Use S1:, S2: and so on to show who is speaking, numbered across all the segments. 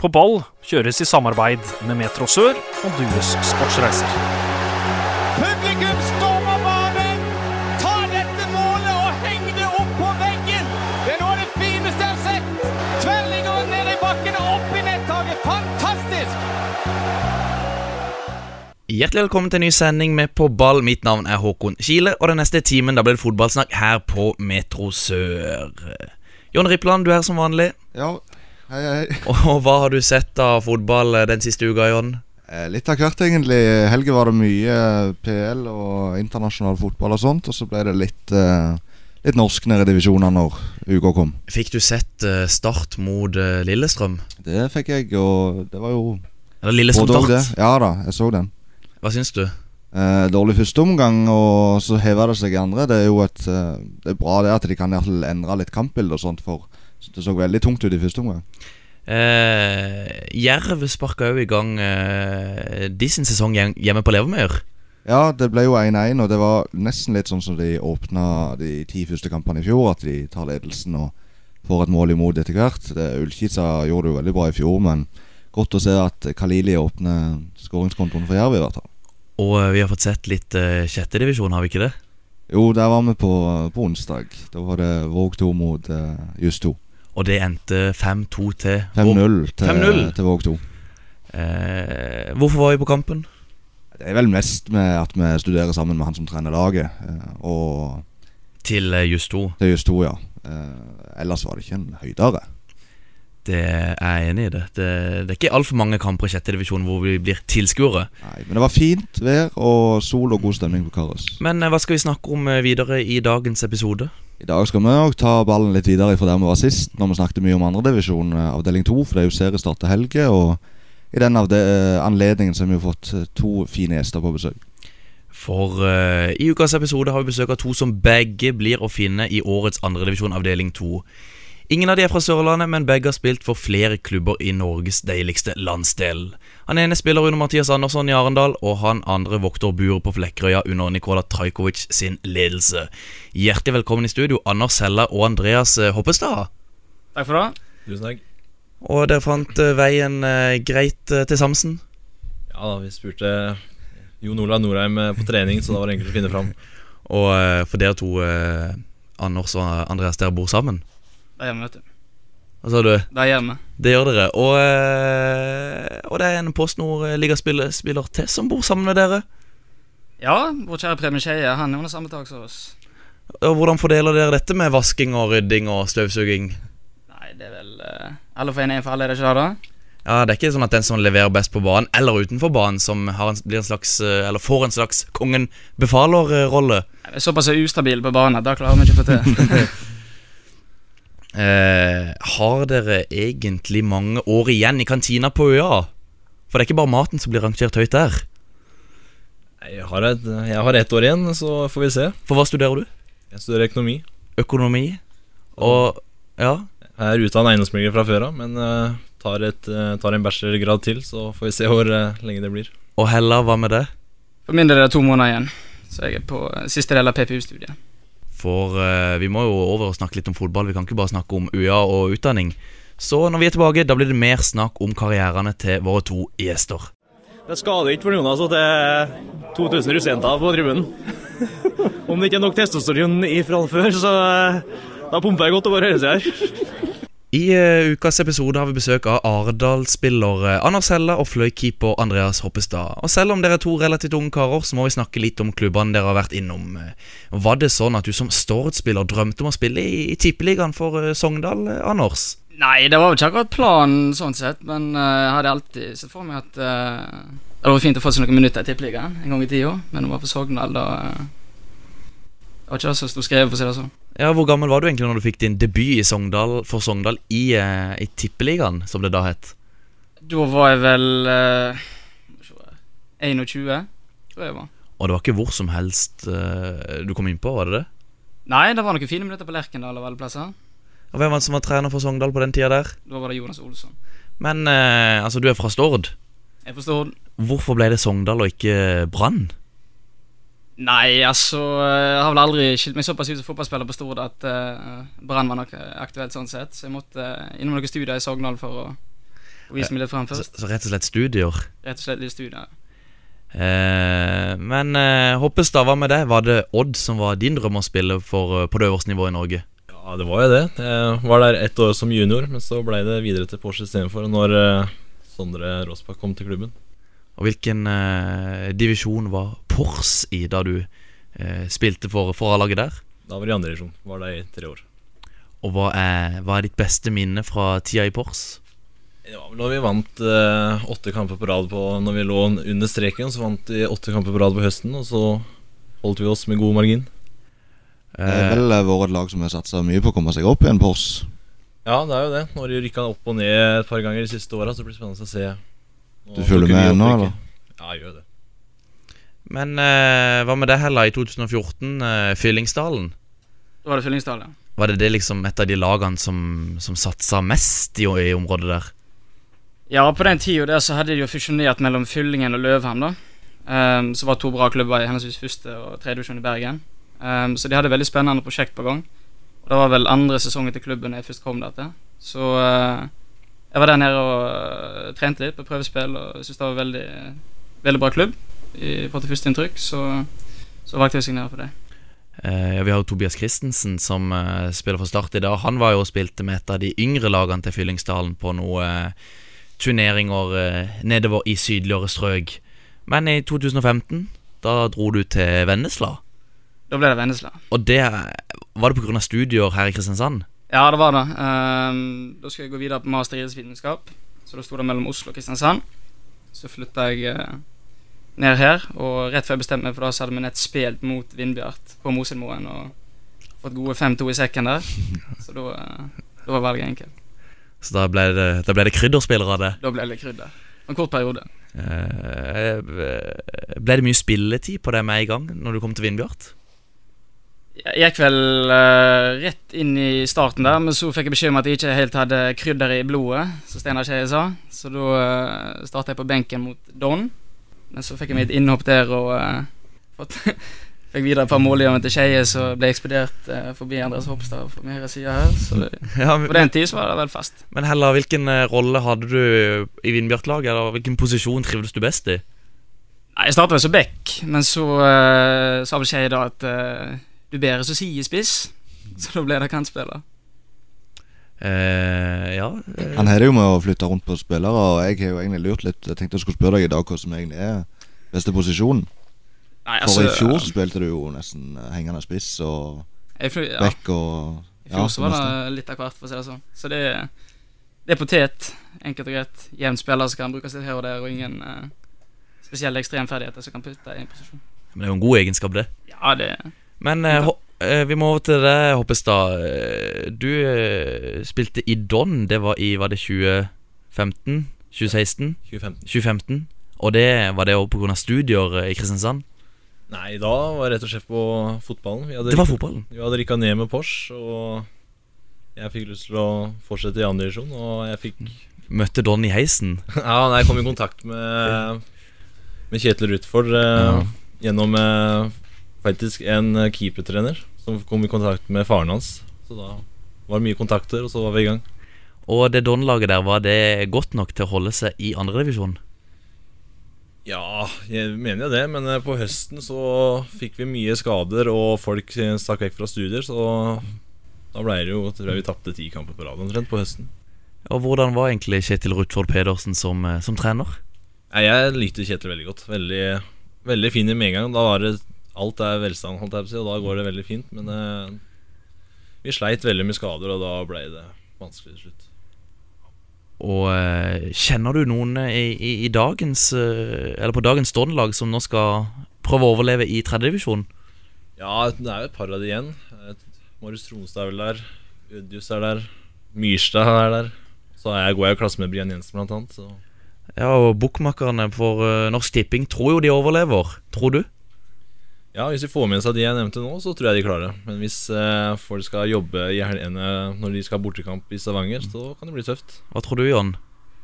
S1: På ball kjøres i samarbeid med Metro Sør og Dues Sportsreiser.
S2: Publikum stormer banen! Ta dette målet og heng det opp på veggen! Det er noe av det fineste jeg har sett! Tverrliggeren ned i bakken og opp i nettaket. Fantastisk!
S3: Hjertelig velkommen til en ny sending med På ball. Mitt navn er Håkon Kile, og den neste timen da blir det fotballsnakk her på Metro Sør. Jon Rippland, du er her som vanlig.
S4: Ja, hei, hei.
S3: Og hva har du sett av fotball eh, den siste uka, Jon?
S4: Eh, Litt av hvert, egentlig. I Helga var det mye PL og internasjonal fotball og sånt. Og så ble det litt, eh, litt norsk nede i divisjonene når uka kom.
S3: Fikk du sett eh, Start mot eh, Lillestrøm?
S4: Det fikk jeg, og det var jo
S3: Eller Lillestrøm
S4: både og det.
S3: Start?
S4: Ja da, jeg så den.
S3: Hva syns du?
S4: Eh, dårlig første omgang, og så hever det seg i andre. Det er jo et eh, Det er bra det at de kan i hvert fall endre litt kampbilde og sånt, for det så veldig tungt ut i første omgang.
S3: Eh, Jerv sparka òg i gang eh, de sin sesong hjem- hjemme på Levermøyer.
S4: Ja, det ble jo 1-1, og det var nesten litt sånn som de åpna de ti første kampene i fjor. At de tar ledelsen og får et mål imot etter hvert. Det- Ullkisa gjorde det jo veldig bra i fjor, men godt å se at Kalili åpner skåringskontoen for Jerv, i hvert fall.
S3: Og eh, vi har fått sett litt eh, sjettedivisjon, har vi ikke det?
S4: Jo, der var vi på, på onsdag. Da var det Våg 2 mot eh, Juss 2.
S3: Og det endte 5-2 til
S4: 5-0 til,
S3: 5-0.
S4: til Våg 2.
S3: Eh, hvorfor var vi på kampen?
S4: Det er vel mest med at vi studerer sammen med han som trener laget, eh, og
S3: Til eh, Just 2.
S4: til Juss 2, ja. Eh, ellers var det ikke en høydere.
S3: Det er jeg enig i. Det Det, det er ikke altfor mange kamper i sjette divisjon hvor vi blir tilskuere.
S4: Nei, men det var fint vær og sol og god stemning på Karos.
S3: Men eh, hva skal vi snakke om eh, videre i dagens episode?
S4: I dag skal vi nok ta ballen litt videre fra der vi var sist, når vi snakket mye om andredivisjon, eh, avdeling to, for det er jo seriestart til helge. Og i den avde eh, anledningen så har vi jo fått eh, to fine gjester på besøk.
S3: For eh, i ukas episode har vi besøk av to som begge blir å finne i årets andredivisjon avdeling 2. Ingen av de er fra Sørlandet, men begge har spilt for flere klubber i Norges deiligste landsdel. Han ene spiller under Mathias Andersson i Arendal, og han andre vokter buret på Flekkerøya under Nikola Trajkovic sin ledelse. Hjertelig velkommen i studio, Anders Hella og Andreas eh, Hoppestad.
S5: Takk for det. Tusen takk.
S3: Og dere fant eh, veien eh, greit eh, til Samsen.
S5: Ja da, vi spurte Jon Olav Norheim eh, på trening, så da var det enkelt å finne fram.
S3: Og eh, for dere to, eh, Anders og Andreas, dere bor sammen.
S6: Det er hjemme, vet du.
S3: Hva sa du?
S6: Det er hjemme.
S3: Det gjør dere. Og, eh, og det er en eh, PostNord-ligaspiller til som bor sammen med dere.
S6: Ja, vår kjære Preben Skeie, han er under samme tak som oss.
S3: Og Hvordan fordeler dere dette med vasking og rydding og støvsuging?
S6: Nei, det er vel eh, Alle for en én for alle, er det ikke det, da?
S3: Ja, Det er ikke sånn at den som leverer best på banen eller utenfor banen, som har en, blir en slags, eh, eller får en slags kongen befaler-rolle.
S6: Nei, vi er såpass ustabile på banen at det klarer vi ikke å få til.
S3: Eh, har dere egentlig mange år igjen i kantina på UiA? For det er ikke bare maten som blir rangert høyt der.
S5: Nei, Jeg har, et, jeg har ett år igjen, så får vi se.
S3: For hva studerer du?
S5: Jeg studerer økonomi.
S3: Økonomi. Og ja,
S5: Jeg er utdannet eiendomsmegler fra før av, men eh, tar, et, eh, tar en bachelorgrad til, så får vi se hvor eh, lenge det blir.
S3: og Hella, hva med det?
S6: For min del er det to måneder igjen, så jeg er på eh, siste del av PPU-studiet.
S3: For eh, vi må jo over og snakke litt om fotball. Vi kan ikke bare snakke om UiA og utdanning. Så når vi er tilbake, da blir det mer snakk om karrierene til våre to gjester.
S7: Det skader ikke for Jonas at det er 2000 russejenter på tribunen. Om det ikke er nok testosteron ifra før, så eh, da pumper jeg godt over høyresida her.
S3: I eh, ukas episode har vi besøk av Ardal-spiller eh, Anders Hella og fløykeeper Andreas Hoppestad. Og selv om dere er to relativt unge karer, så må vi snakke litt om klubbene dere har vært innom. Eh, Var det sånn at du som Stord-spiller drømte om å spille i, i Tippeligaen for eh, Sogndal, eh, Anders?
S6: Nei, det var vel ikke akkurat planen sånn sett, men eh, jeg hadde alltid sett for meg at eh, Det hadde vært fint å få seg noen minutter i Tippeligaen en gang i tida, men å være på Sogndal, da eh, Det var ikke det som sto skrevet, for å si det sånn.
S3: Ja, Hvor gammel var du egentlig når du fikk din debut i Sogndal, for Sogndal i, eh, i Tippeligaen, som det da het?
S6: Da var jeg vel eh, må se, 21, tror jeg jeg var.
S3: Og det var ikke hvor som helst eh, du kom inn på, var det det?
S6: Nei, det var noen fine minutter på Lerkendal av alle plasser.
S3: Og Hvem var det som var trener for Sogndal på den tida der?
S6: Da var det Jonas Olsson.
S3: Men eh, altså, du er fra Stord.
S6: Jeg forstår den.
S3: Hvorfor ble det Sogndal og ikke Brann?
S6: Nei, altså Jeg har vel aldri skilt meg såpass ut som fotballspiller på Stord at eh, Brann var nok aktuelt sånn sett. Så jeg måtte eh, innom noen studier i Sogndal for å Og vise meg litt frem
S3: Så,
S6: først.
S3: så rett og slett studier.
S6: Rett og slett litt studier.
S3: Eh, men eh, Hoppestad, hva med det? Var det Odd som var din drøm å spille for, eh, på det øverste nivået i Norge?
S5: Ja, det var jo det. Jeg var der ett år som junior, men så ble det videre til Porsche istedenfor når eh, Sondre Rossbakk kom til klubben.
S3: Og hvilken eh, divisjon var Pors i da du eh, spilte for, for A-laget der?
S5: Da var det i andre divisjon. Var der i tre år.
S3: Og hva er, hva er ditt beste minne fra tida i Pors?
S5: Det var vel når vi vant eh, åtte kamper på rad på Når vi lå under streken, så vant vi åtte kamper på rad på høsten, og så holdt vi oss med god margin.
S4: Det har vel eh, vært et lag som har satsa mye på å komme seg opp igjen, Pors.
S5: Ja, det er jo det. Når de rykka opp og ned et par ganger de siste åra, så blir det spennende å se. Nå
S4: Du følger
S5: plukker vi
S4: med
S5: opp
S4: ennå,
S5: rykket.
S4: eller?
S5: Ja, jeg gjør det.
S3: Men eh, hva med det heller i 2014, eh, Fyllingsdalen?
S6: Da var det Fyllingsdal, ja.
S3: Var det det liksom et av de lagene som, som satsa mest i, i området der?
S6: Ja, på den tida der så hadde de jo fusjonert mellom Fyllingen og Løvheim, da. Ehm, så var to bra klubber i henholdsvis første og tredje divisjon i Bergen. Ehm, så de hadde et veldig spennende prosjekt på gang. Og det var vel andre sesongen til klubben da jeg først kom der til. Så eh, jeg var der nede og eh, trente litt på prøvespill, og syntes det var en veldig, veldig bra klubb i, på det første inntrykk, så, så valgte jeg å signere for det.
S3: Eh, ja, vi har jo Tobias Christensen som eh, spiller for Start i dag. Han var jo og spilte med et av de yngre lagene til Fyllingsdalen på noen eh, turneringer eh, nedover i sydligere strøk. Men i 2015, da dro du til Vennesla.
S6: Da ble det Vennesla.
S3: Og det eh, var det pga. studier her i Kristiansand.
S6: Ja, det var det. Ehm, da skulle jeg gå videre på master i idrettsvitenskap. Så da sto det mellom Oslo og Kristiansand. Så flytta jeg eh, ned her, og rett før jeg bestemte meg for det, så hadde vi nett spilt mot Vindbjart på Mosenmoen og fått gode 5-2 i sekken der. Så da, eh, da var valget enkelt.
S3: Så da ble det, da ble det krydderspillere av det.
S6: Da ble det litt krydder. En kort periode.
S3: Eh, eh, ble det mye spilletid på det med en gang når du kom til Vindbjart?
S6: Jeg gikk vel eh, rett inn i starten der, men så fikk jeg beskjed om at jeg ikke helt hadde krydder i blodet, som Steinar Skeie sa. Så da uh, starta jeg på benken mot Don. Men så fikk jeg meg et innhopp der og eh, fått, fikk videre et par målgivende til Skeie, så ble jeg ekspedert eh, forbi Andreas Hopstad på min høyre side her. Så det,
S3: Ja, men-
S6: på den tid så var det vel fast.
S3: Men Hella, hvilken eh, rolle hadde du i Vindbjart-laget? Eller hvilken posisjon trivdes du best i?
S6: Nei, Jeg starta vel som back, men så eh, sa vel Skeie da at eh, du bedre som sier spiss, så da ble det kantspiller.
S3: Eh, ja eh,
S4: Han har det jo med å flytte rundt på spillere, og jeg har jo egentlig lurt litt. Jeg tenkte jeg skulle spørre deg i dag hva som egentlig er beste posisjon.
S6: Nei, altså,
S4: For i fjor så spilte du jo nesten eh, hengende spiss og
S6: jeg fly- ja.
S4: back og
S6: I fjor
S4: ja,
S6: så var
S4: nesten.
S6: det litt av hvert, for å si det sånn. Så det, det er potet, enkelt og greit. Jevn spiller som kan brukes litt her og der, og ingen eh, spesielle ekstremferdigheter som kan putte i en posisjon.
S3: Men det er jo en god egenskap, det.
S6: Ja, det
S3: Men eh, ho eh, vi må over til deg, Hoppestad. Eh, Du eh, spilte i Don. Det var i var det 2015? 2016?
S5: 2015.
S3: 2015? Og det var det òg pga. studier eh, i Kristiansand?
S5: Nei, da var jeg rett og slett på fotballen. Vi hadde
S3: Det var
S5: rykket-
S3: fotballen.
S5: Vi hadde rykka ned med Porsche, og jeg fikk lyst til å fortsette i andre divisjon, og jeg fikk
S3: Møtte Don i heisen.
S5: Ja, nei, jeg kom i kontakt med, med Kjetil Rutford eh, gjennom eh, faktisk en eh, keepertrener som kom i kontakt med faren hans. Så da var det mye kontakter, og så var vi i gang.
S3: Og det Don-laget der, var det godt nok til å holde seg i andredivisjon?
S5: Ja, jeg mener jo det, men eh, på høsten så fikk vi mye skader, og folk eh, stakk vekk fra studier, så da ble det jo Tror jeg vi tapte ti kamper på rad omtrent på høsten.
S3: Og hvordan var egentlig Kjetil Rutford Pedersen som, eh, som trener?
S5: Nei, jeg likte Kjetil veldig godt. Veldig, veldig fin i med en gang. Da var det Alt er velstand, holdt jeg på å si, og da går det veldig fint. Men eh, vi sleit veldig med skader, og da ble det vanskelig til slutt.
S3: Og eh, kjenner du noen eh, i, i, i dagens eh, Eller på dagens Don-lag som nå skal prøve å overleve i tredjedivisjon?
S5: Ja, det er jo et par av de igjen. Eh, Marius Tronstad er vel der. Udjus er der. Myrstad er der. Så er jeg, går jeg i klasse med Brian Jensen, blant annet. Så
S3: Ja, og bookmakerne for eh, Norsk Tipping tror jo de overlever. Tror du?
S5: ja, hvis de får med seg de jeg nevnte nå, så tror jeg de klarer det. Men hvis eh, folk skal jobbe i helgene når de skal ha bortekamp i Stavanger, så kan det bli tøft.
S3: Hva tror du, Jan?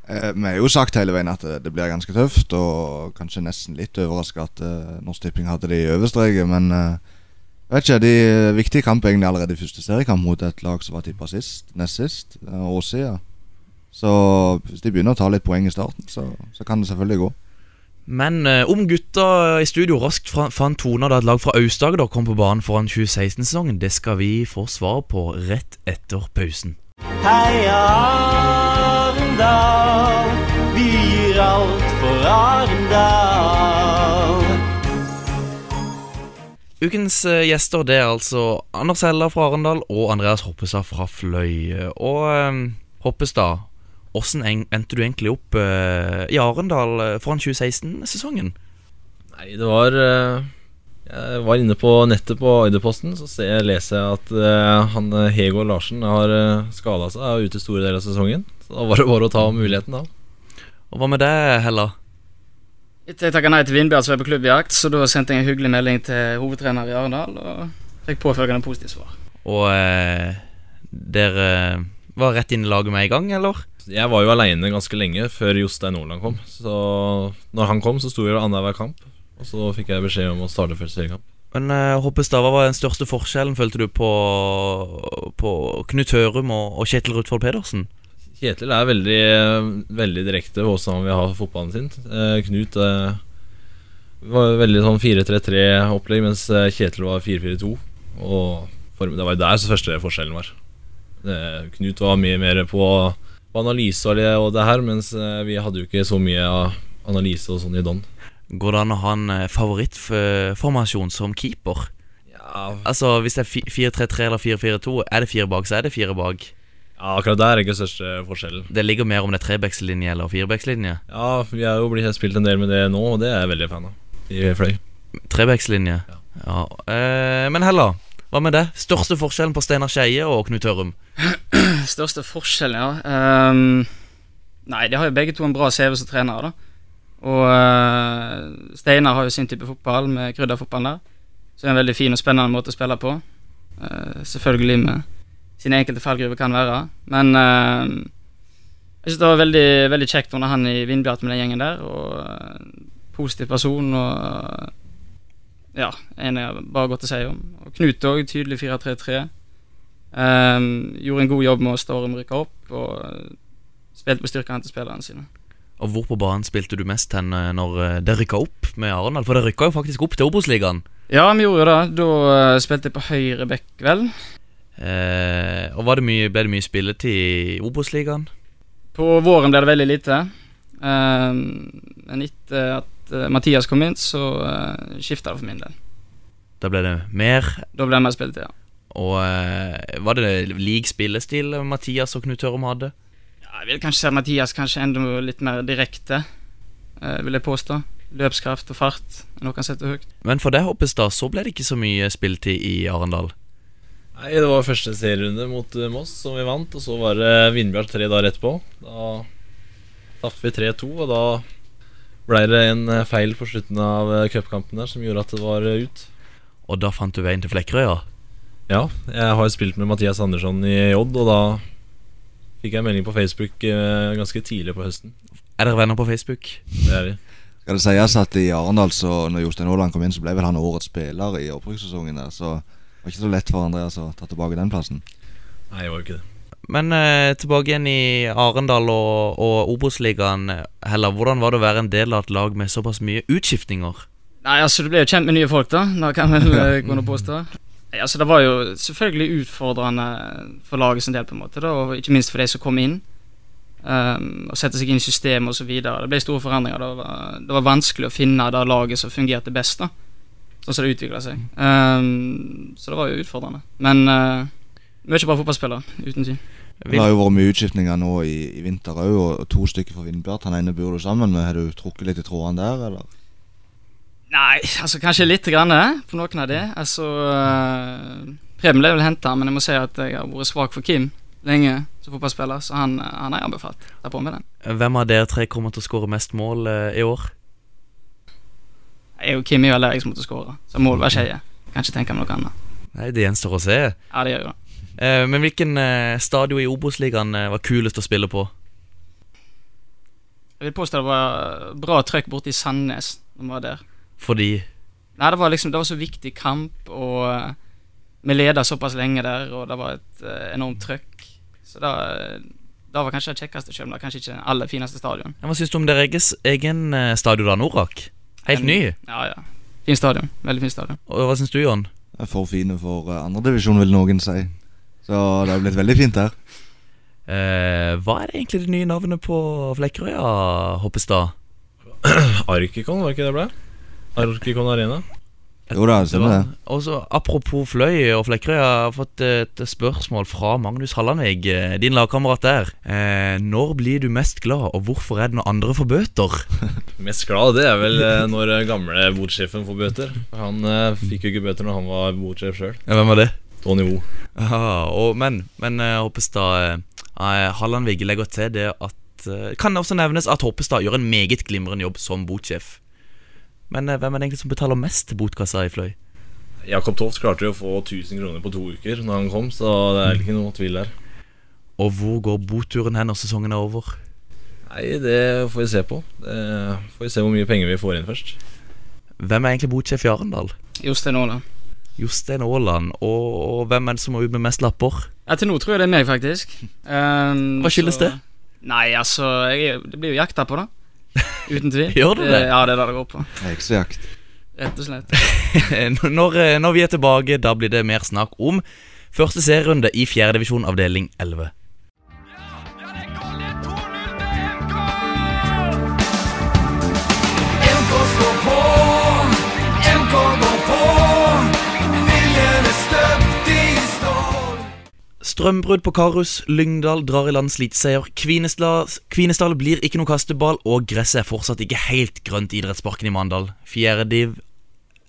S4: Eh, Vi har jo sagt hele veien at eh, det blir ganske tøft, og kanskje nesten litt overraska at eh, Norsk Tipping hadde det i overstreket, men eh, jeg vet ikke, de eh, viktige kamp egentlig allerede i første seriekamp mot et lag som var tippa sist, nest sist, eh, Åsia. Så hvis de begynner å ta litt poeng i starten, så, så kan det selvfølgelig gå.
S3: Men eh, om gutta i studio raskt fra, fant toner da et lag fra Aust-Agder kom på banen foran 2016-sesongen, det skal vi få svar på rett etter pausen.
S8: Heia Arendal, vi gir alt for Arendal.
S3: Ukens eh, gjester det er altså Anders Hella fra Arendal og Andreas Hoppestad fra Fløy. Og eh, Hoppestad, åssen eng- endte du egentlig opp eh, i Arendal eh, foran 2016-sesongen?
S5: Nei, det var eh, Jeg var inne på nettet på Agderposten, så ser jeg, leser jeg at eh, han eh, Hego Larsen har uh, skada seg og er ute store deler av sesongen. Så da var det bare å ta muligheten, da.
S3: Og hva med deg, Hella?
S6: Etter jeg takka nei til Vindbjørn, så var jeg på klubbjakt, så da sendte jeg en hyggelig melding til hovedtrener i Arendal og fikk påfølgende positivt svar.
S3: Og eh, dere eh, var rett inn i laget med en gang, eller?
S5: Jeg var jo aleine ganske lenge før Jostein Nordland kom. Så når han kom, så sto jeg ved annenhver kamp. Og så fikk jeg beskjed om å starte første seriekamp.
S3: Men eh, Hoppestad, hva var den største forskjellen, følte du, på, på Knut Hørum og, og Kjetil Rutvold Pedersen?
S5: Kjetil er veldig, veldig direkte på hvordan han vil ha fotballen sin. Eh, Knut eh, var veldig sånn 4-3-3-opplegg, mens eh, Kjetil var 4-4-2. Og form- Det var jo der så første forskjellen var. Det- Knut var mye mer på, på analyse og det, og det her, mens eh, vi hadde jo ikke så mye av analyse og sånn i Don.
S3: Går det an å ha en eh, favorittformasjon som keeper?
S5: Ja,
S3: Altså, hvis det er fi- 4-3-3 eller 4-4-2, er det fire bak, så er det fire bak.
S5: akkurat der er ikke den største forskjellen.
S3: Det ligger mer om det er trebekslinje eller firebekslinje.
S5: Ja, vi har jo blitt spilt en del med det nå, og det er jeg veldig fan av i Fløy.
S3: Trebekslinje.
S5: Ja.
S3: Ja. Eh, men Hella, hva med det? Største forskjellen på Steinar Skeie og Knut Hørum?
S6: Største forskjellen, ja. Ehm, nei, de har jo begge to en bra CV som trenere, da. Og eh, Steinar har jo sin type fotball, med krydderfotballen der. Så det er en veldig fin og spennende måte å spille på. Eh, selvfølgelig med sine enkelte fallgruver kan være. Men eh, jeg syns det var veldig, veldig kjekt under han i Vindbjart med den gjengen der. Og eh, positiv person og Ja, en er bare godt å si om. Og Knut òg, tydelig 4-3-3. Ehm, gjorde en god jobb med å Storm rykke opp, og eh, spilte på styrkene til spillerne sine.
S3: Og hvor på banen spilte du mest hen eh, når eh, det rykka opp med Arendal? For det rykka jo faktisk opp til Obos-ligaen.
S6: Ja, vi gjorde jo det. Da eh, spilte jeg på høyre bekk, vel.
S3: Eh, og var det mye, ble det mye spilletid i Obos-ligaen?
S6: På våren ble det veldig lite. Ehm, men etter at eh, Mathias kom inn, så uh, skifta det for min del.
S3: Da ble det mer.
S6: Da ble det mer spilletid, ja.
S3: Og eh, var det lik spillestil Mathias og Knut Hørum hadde?
S6: ja. Jeg vil kanskje si at Mathias kanskje enda litt mer direkte, eh, vil jeg påstå. Løpskraft og fart. Noe han setter høyt.
S3: Men for det Hoppestad, så ble det ikke så mye spilletid i Arendal.
S5: Nei, Det var første serierunde mot eh, Moss, som vi vant. Og så var det Vindbjart tre dager etterpå. Da tapte vi 3-2, og da ble det en eh, feil på slutten av eh, cupkampen der som gjorde at det var eh, ut.
S3: Og da fant du veien til Flekkerøya.
S5: Ja, jeg har jo spilt med Mathias Andersson i Odd, og da fikk jeg en melding på Facebook eh, ganske tidlig på høsten.
S3: Er dere venner på Facebook?
S5: Det er vi.
S4: Skal det sies at i Arendal, så når Jostein Aaland kom inn, så ble vel han årets spiller i opprykkssesongen der, så det var ikke så lett for Andreas å ta tilbake den plassen.
S5: Nei, jeg var jo ikke det.
S3: Men eh, tilbake igjen i Arendal og, og Obos-ligaen. Heller, hvordan var det å være en del av et lag med såpass mye utskiftninger?
S6: Nei, altså du ble jo kjent med nye folk, da. Det kan vel eh, kunne påstå. Nei, altså Det var jo selvfølgelig utfordrende for laget sin del, på en måte, da, og ikke minst for de som kom inn. Um, og sette seg inn i systemet osv. Det ble store forandringer. Det var, det var vanskelig å finne det laget som fungerte best, da sånn som det utvikla seg. Um, så det var jo utfordrende. Men uh, mye bra fotballspiller, uten tvil.
S4: Det har jo vært mye utskiftninger nå i, i vinter òg, og og to stykker fra Vindbjart. Han ene bor du sammen med. Har du trukket litt i trådene der, eller?
S6: Nei, altså kanskje litt grann eh, på noen av de. Altså, eh, Preben ble vel henta, men jeg må si at jeg har vært svak for Kim lenge som fotballspiller, så han, eh, han er anbefalt. Ta på med den.
S3: Hvem av dere tre kommer til å skåre mest mål eh, i år?
S6: Jeg og Kim er jo allergisk mot å skåre, så mål hver skeie. Kan ikke tenke meg noe annet.
S3: Nei, Det gjenstår å se.
S6: Ja, det gjør jo det.
S3: Eh, men hvilken eh, stadion i Obos-ligaen eh, var kulest å spille på?
S6: Jeg vil påstå det var bra trøkk borte i Sandnes når vi var der.
S3: Fordi
S6: Nei, det var liksom Det var så viktig kamp, og eh, vi leda såpass lenge der, og det var et eh, enormt trøkk. Så da eh, Det var kanskje det kjekkeste, selv om det er kanskje ikke den aller fineste stadion.
S3: Ja, Hva syns du om deres egen eh, stadion, da, Norak? Helt ny.
S6: Ja, ja. Fin stadion. Veldig fin stadion.
S3: Og Hva syns du, Jon?
S4: Det er For fine for eh, andredivisjon, vil noen si. Så det har blitt veldig fint her.
S3: Eh, hva er det egentlig det nye navnet på Flekkerøya, Hoppestad?
S5: Arkikon, var det ikke det det ble? Arkikon Arena.
S4: Jo da, det stemmer det.
S3: Og så Apropos Fløy og Flekkerøy, jeg har fått et spørsmål fra Magnus Hallandvig, eh, din lagkamerat der. Eh, når blir du mest glad, og hvorfor er det når andre får bøter?
S5: Mest glad det er vel eh, når eh, gamle botsjefen får bøter. Han eh, fikk jo ikke bøter når han var botsjef sjøl.
S3: Ja, Hvem var det?
S5: Tony Wu.
S3: Ah, og, men, men eh, Hoppestad eh, Hallandvig legger til det at eh, Kan det også nevnes at Hoppestad gjør en meget glimrende jobb som botsjef. Men eh, hvem er det egentlig som betaler mest til botkassa i Fløy?
S5: Jakob Toft klarte jo å få 1000 kroner på to uker når han kom, så det er ikke noe tvil der.
S3: Og hvor går boturen hen når sesongen er over?
S5: Nei, det får vi se på. Det får vi se hvor mye penger vi får inn først.
S3: Hvem er egentlig botsjef i Arendal?
S6: Jostein Aaland.
S3: Jostein Aaland. Og, og hvem er det som må ut med mest lapper?
S6: Etter nå tror jeg det er meg, faktisk. Ehm,
S3: Hva skyldes
S6: så-
S3: det?
S6: Nei, altså jeg, er jo- Det blir jo jakta på, da. Uten tvil.
S3: Gjør det det?
S6: Ja, det er det det går på.
S4: Heksejakt.
S6: Rett og slett.
S3: når, eh, når vi er tilbake, da blir det mer snakk om første serierunde i fjerde divisjon avdeling 11.
S2: Ja, det er gold! Det er 2-0 til MK!
S9: MK står på, MK går på. Viljen er støpt i stål.
S3: Strømbrudd på Karus, Lyngdal drar i land sliteseier, Kvinesdal, Kvinesdal blir ikke noe kasteball, og gresset er fortsatt ikke helt grønt i idrettsparken i Mandal. Fjerde div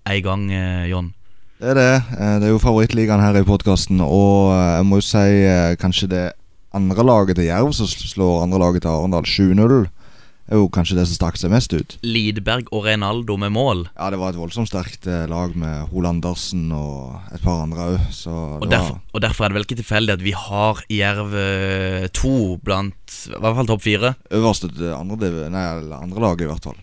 S3: er i gang, eh, John.
S4: Det er det. Eh, Det er jo favorittligaen her i podkasten. Og eh, jeg må jo si eh, kanskje det andre laget til Jerv som sl- slår andre laget til Arendal 7-0, er jo kanskje det som stakk seg mest ut.
S3: Lidberg og Reinaldo med mål,
S4: Ja, det var et voldsomt sterkt eh, lag med Hol Andersen og et par andre òg, så
S3: og
S4: det
S3: derfor,
S4: var
S3: og derfor er det vel ikke tilfeldig at vi har Jerv eh, to blant i hvert fall topp fire.
S4: øverste til andre, div- nei, eller andre laget, i hvert fall.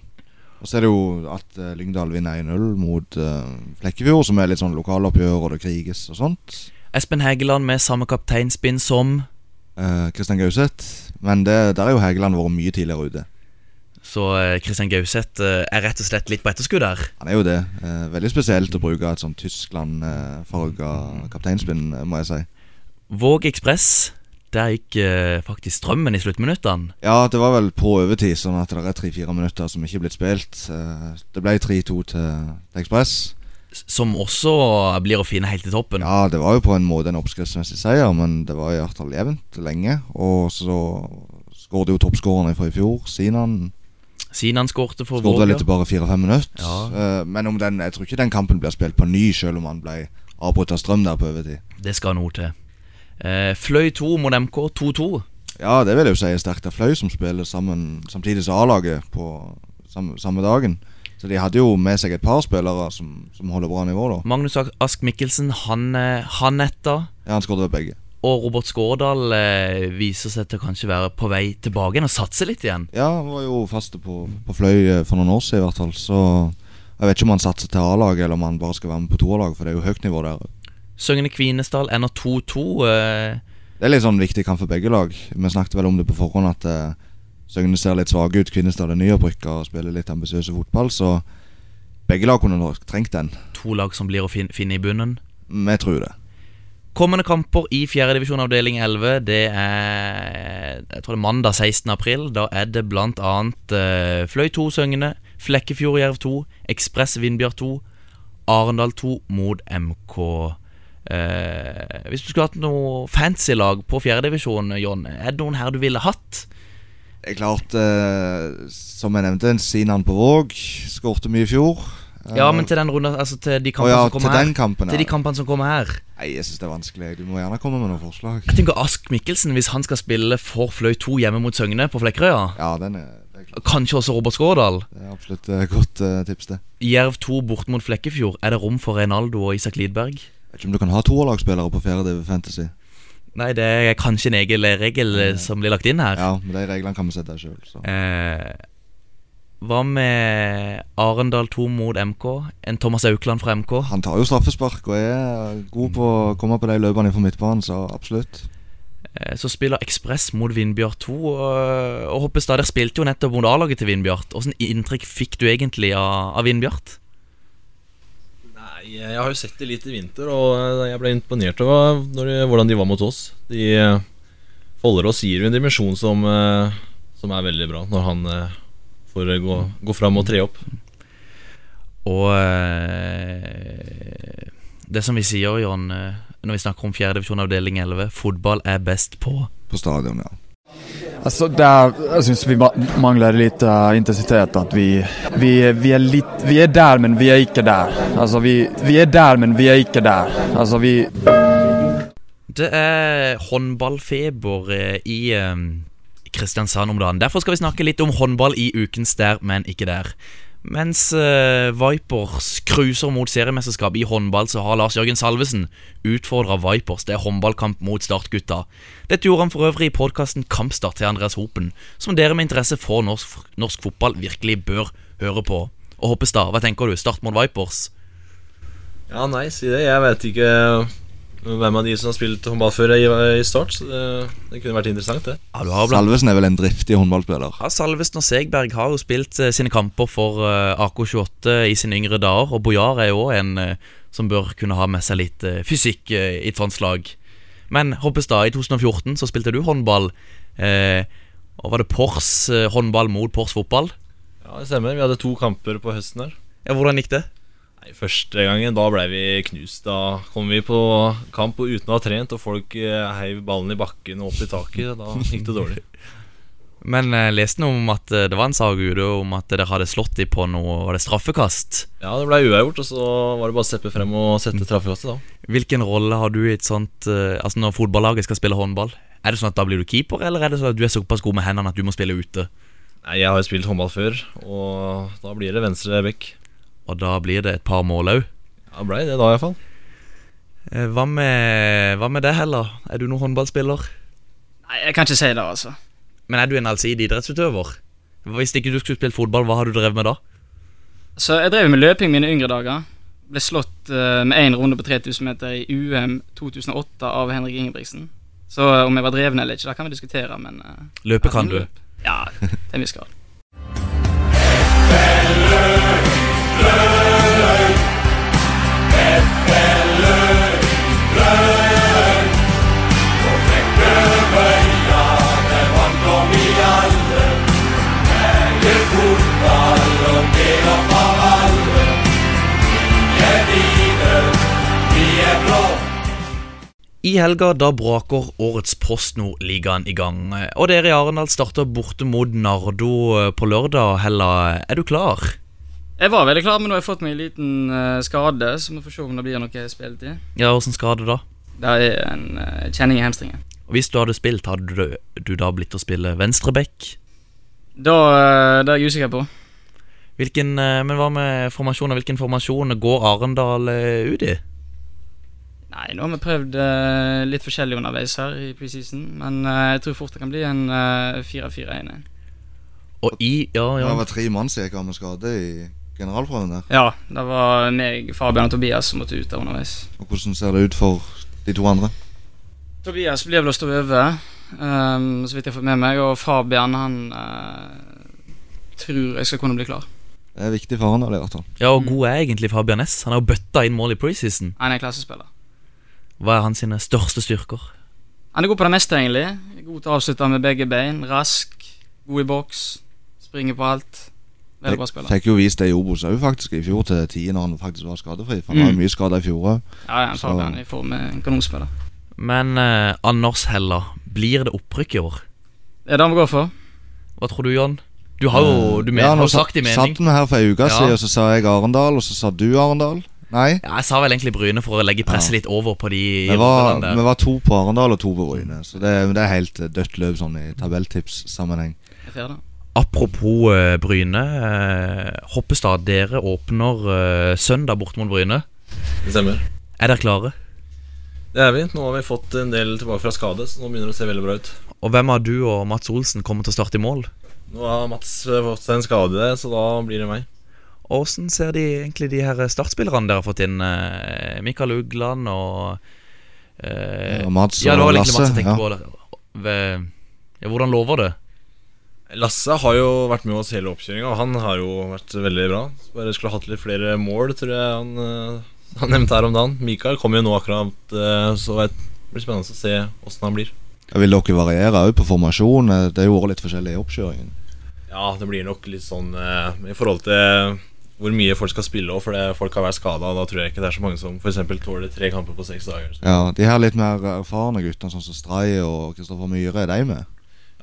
S4: Og så er det jo at eh, Lyngdal vinner 1-0 mot eh, Flekkefjord, som er litt sånn lokaloppgjør, og det kriges og sånt.
S3: Espen Hegeland med samme kapteinspinn som
S4: Eh, Kristian Gauseth. Men det, der er jo Hegeland vært mye tidligere ute.
S3: Så eh, Christian Gauseth eh, er rett og slett litt på etterskudd her.
S4: Han er jo det. Eh, veldig spesielt å bruke et sånn Tyskland-farga kapteinspinn, eh, må jeg si.
S3: Våg Ekspress, der gikk eh, faktisk strømmen i sluttminuttene.
S4: Ja, det var vel på overtid, sånn at det er tre-fire minutter som ikke er blitt spilt. Eh, det ble 3-2 til til Ekspress.
S3: Som også blir å finne helt i toppen.
S4: Ja, det var jo på en måte en oppskriftsmessig seier, men det var i hvert fall jevnt lenge. Og så skåret jo toppskårerne fra i fjor, Sinan.
S3: Sinan skårte for
S4: Skåret
S3: Våg.
S4: vel
S3: ja.
S4: etter bare fire-fem minutter.
S3: Ja.
S4: Eh, men om den, jeg tror ikke den kampen blir spilt på ny, selv om han ble avbrutt av strøm der på overtid.
S3: Det skal noe til. Eh, Fløy 2 mot MK 2-2.
S4: Ja, det vil jeg jo si er sterkt av Fløy, som spiller sammen samtidig som A-laget på samme, samme dagen. Så de hadde jo med seg et par spillere som, som holder bra nivå, da.
S3: Magnus Ak- Ask Mikkelsen, han, eh, han etter.
S4: Ja, han skåret begge.
S3: Og Robert Skårdal eh, viser seg til å kanskje være på vei tilbake igjen og satse litt igjen.
S4: Ja, han var jo faste på, på Fløy eh, for noen år siden, i hvert fall. Så jeg vet ikke om han satser til A-laget, eller om han bare skal være med på toerlaget, for det er jo høyt nivå der.
S3: Søgne Kvinesdal ender 2-2. Eh,
S4: Det er litt sånn viktig kamp for begge lag. Vi snakket vel om det på forhånd, at eh, Søgne ser litt svake ut. Kvinesdal er nyopprykka og spiller litt ambisiøs fotball, så begge lag kunne nok trengt den.
S3: to lag som blir å fin finne i bunnen.
S4: Vi tror det.
S3: Kommende kamper i 4. divisjon avdeling 11, det er jeg tror det er mandag 16. april. Da er det blant annet eh, Fløy 2 Søgne, Flekkefjord Jerv 2, Ekspress Vindbjørn 2, Arendal 2 mot MK. Eh, hvis du skulle hatt noe fancy lag på 4. divisjon, John, er det noen her du ville hatt?
S4: Det er klart, eh, som jeg nevnte, en Sinan på Våg skårte mye i fjor. Eh,
S3: Ja, men til den runden, altså til de
S4: Å
S3: kampene
S4: ja,
S3: som
S4: til
S3: kommer
S4: den
S3: her.
S4: kampen,
S3: Til de
S4: ja.
S3: kampene som kommer her.
S4: Nei, jeg syns det er vanskelig. Du må gjerne komme med noen forslag.
S3: Jeg tenker Ask Mikkelsen, hvis han skal spille for Fløy 2 hjemme mot Søgne på Flekkerøya.
S4: Ja, den er, det er klart.
S3: Kanskje også Robert Skårdal.
S4: Det er absolutt et godt eh, tips, det.
S3: Jerv 2 bort mot Flekkefjord. Er det rom for Reinaldo og Isak Lidberg?
S4: Jeg vet ikke om du kan ha toerlagsspillere på fjerde div fantasy.
S3: Nei, det er kanskje en egen regel eh, som blir lagt inn her.
S4: Ja, men de reglene kan vi sette sjøl, så.
S3: Eh, hva med Arendal 2 mot MK? En Thomas Aukland fra MK?
S4: Han eh, tar jo straffespark og er god på å komme på de løpene fra midtbanen, så absolutt.
S3: Eh, Så spiller Ekspress mot Vindbjart 2. Og, og Hoppestad, dere spilte jo nettopp mot A-laget til Vindbjart. Åssen inntrykk fikk du egentlig av, av Vindbjart?
S5: Nei, jeg har jo sett det litt i vinter, og eh, jeg ble imponert over når de, hvordan de var mot oss. De eh, Follerås gir jo en dimensjon som, eh, som er veldig bra, når han eh, får gå, gå fram og tre opp.
S3: Og eh, det som vi sier, Jon, eh, når vi snakker om 4. divisjon avdeling 11, fotball er best på
S4: på stadion, ja.
S10: Altså, der, jeg syns vi ma- mangler litt eh, intensitet. At vi, vi, vi, er litt, vi er der, men vi er ikke der. Altså, vi, vi er der, men vi er ikke der. Altså, vi,
S3: Det er håndballfeber eh, i eh, Kristiansand om dagen. Derfor skal vi snakke litt om håndball i ukens der, men ikke der. Mens eh, Vipers cruiser mot seriemesterskapet i håndball, så har Lars-Jørgen Salvesen utfordra Vipers til håndballkamp mot Startgutta. Dette gjorde han for øvrig i podkasten Kampstart til Andreas Hopen, som dere med interesse for norsk, norsk fotball virkelig bør høre på. Og Hoppestad, hva tenker du? Start mot Vipers?
S5: Ja, nei, si det. Jeg vet ikke eh, hvem av de som har spilt håndball før i, i start, så det, det kunne vært interessant, det.
S3: Ja, du har blant
S4: Salvesen er vel en driftig håndballspiller.
S3: Ja, Salvesen og Segberg har jo spilt eh, sine kamper for eh, AK28 i sine yngre dager, og Bojar er jo også en eh, som bør kunne ha med seg litt eh, fysikk eh, i et sånt slag. Men Hoppestad, i 2014 så spilte du håndball. Eh, og var det Pors eh, håndball mot Pors fotball?
S5: Ja, det stemmer. Vi hadde to kamper på høsten her.
S3: Ja, Hvordan gikk det?
S5: Nei, Første gangen da ble vi knust. Da kom vi på kamp og uten å ha trent, og folk eh, heiv ballen i bakken og opp i taket. Da gikk det dårlig.
S3: Men eh, leste noe om at eh, det var en saga ute om at dere hadde slått dem på noe var det straffekast.
S5: Ja, det ble uavgjort, og så var det bare å steppe frem og sette traffekastet, da.
S3: Hvilken rolle har du i et sånt eh, Altså når fotballaget skal spille håndball? Er det sånn at da blir du keeper, eller er det sånn at du er såpass god med hendene at du må spille ute?
S5: Nei, jeg har jo spilt håndball før, og da blir det venstre bekk.
S3: Og da blir det et par mål òg.
S5: Ja, det ble det da, iallfall.
S3: Eh, Hva med, hva med det heller? Er du noen håndballspiller?
S6: Nei, jeg kan ikke si det, altså.
S3: Men er du en allsidig idrettsutøver? Hvis ikke du skulle spilt fotball, hva har du drevet med da?
S6: Så jeg drev med løping mine yngre dager. Ble slått eh, med én runde på 3000 meter i UM 2008 av Henrik Ingebrigtsen. Så eh, om jeg var dreven eller ikke, det kan vi diskutere, men eh,
S3: Løpe kan du.
S6: jeg Ja, til en viss grad.
S3: I helga da braker årets Post Nord-ligaen i gang. Eh, Og dere i Arendal starter borte mot Nardo eh, på lørdag. Hella, er du klar?
S6: Jeg var veldig klar, men nå har jeg fått meg en liten eh, skade, så vi får se om det blir noe spilletid.
S3: Ja, åssen skal det da?
S6: Det er en eh, kjenning i hamstringen.
S3: Hvis du hadde spilt, hadde du, du da blitt å spille venstreback?
S6: Da, eh, det er jeg usikker på.
S3: Hvilken, eh, men hva med formasjoner? Hvilken formasjon går Arendal eh, ut i?
S6: Nei, nå har vi prøvd eh, litt forskjellig underveis her i preseason, men eh, jeg tror fort det kan bli en eh, 4-4-1.
S3: Og i Ja, ja.
S4: Det var tre mann som gikk av med skade i generalprøven der.
S6: Ja, det var meg, Fabian og Tobias som måtte ut der underveis.
S4: Og hvordan ser det ut for de to andre?
S6: Tobias blir vel å stå over, ehm, så vidt jeg har fått med meg. Og Fabian, han eh, tror jeg skal kunne bli klar.
S4: Det er viktig for han å lære til.
S3: Ja, og god er egentlig Fabian Næss. Han har jo bøtta inn mål i preseason.
S6: Han er klassespiller.
S3: Hva er hans sine største styrker?
S6: Han er god på det meste, egentlig. God til å avslutte med begge bein. Rask, god i boks, springer på alt. Veldig bra spiller.
S4: Fikk jo vist det i Obos òg, faktisk, i fjor til tiden når han faktisk var skadefri. For han
S3: Mm.
S4: var jo mye skada i fjor òg.
S6: Ja, ja, Fabian i form med en kanonspiller.
S3: Men eh, Anders Hella, blir det opprykk i år?
S6: Det er det han går for.
S3: Hva tror du, Jan? Du har jo du mener,
S4: Eh, Ja,
S3: har
S4: nå
S3: jo sagt din mening.
S4: Satt vi her for ei uke
S3: Ja.
S4: siden, og så sa jeg Arendal, og så sa du Arendal. Nei,
S3: Ja, jeg sa vel egentlig Bryne for å legge presset litt over på de i
S4: vi var,
S3: Rotterdam
S4: vi
S3: der.
S4: var to på Arendal og to på Bryne. Så det, det er helt eh, dødt løp sånn i tabelltipssammenheng.
S6: Jeg ser det.
S3: Apropos eh, Bryne. eh, Hoppestad, dere åpner eh, søndag bort mot Bryne.
S5: Det stemmer.
S3: Er dere klare?
S5: Det er vi. Nå har vi fått en del tilbake fra skade, så nå begynner det å se veldig bra ut.
S3: Og hvem av du og Mats Olsen kommer til å starte i mål?
S5: Nå har Mats eh, fått seg en skade, så da blir det meg.
S3: Og Hvordan ser de egentlig de her startspillerne dere har fått inn? eh, Mikael Ugland og eh,
S4: Og Mats
S3: Ja, det var
S4: og
S3: vel egentlig
S4: Lasse.
S3: Mats jeg tenkte
S4: ja.
S3: på det. Ve- ja, Hvordan lover det?
S5: Lasse har jo vært med oss hele oppkjøringa, og han har jo vært veldig bra. Så Bare skulle hatt litt flere mål, tror jeg han, eh, han nevnte her om dagen. Mikael kom jo nå akkurat, eh, så det blir spennende å se åssen han blir.
S4: Ja, Vil dere variere òg på formasjon? Eh, Det er jo vært litt forskjellig i oppkjøringen.
S5: Ja, det blir nok litt sånn eh, i forhold til hvor mye folk skal spille òg, for det, folk har vært skada. Da tror jeg ikke det er så mange som f.eks. tåler tre kamper på seks dager. Så.
S4: Ja, De her litt mer erfarne guttene, sånn som Stray og Kristoffer Myhre, er de med?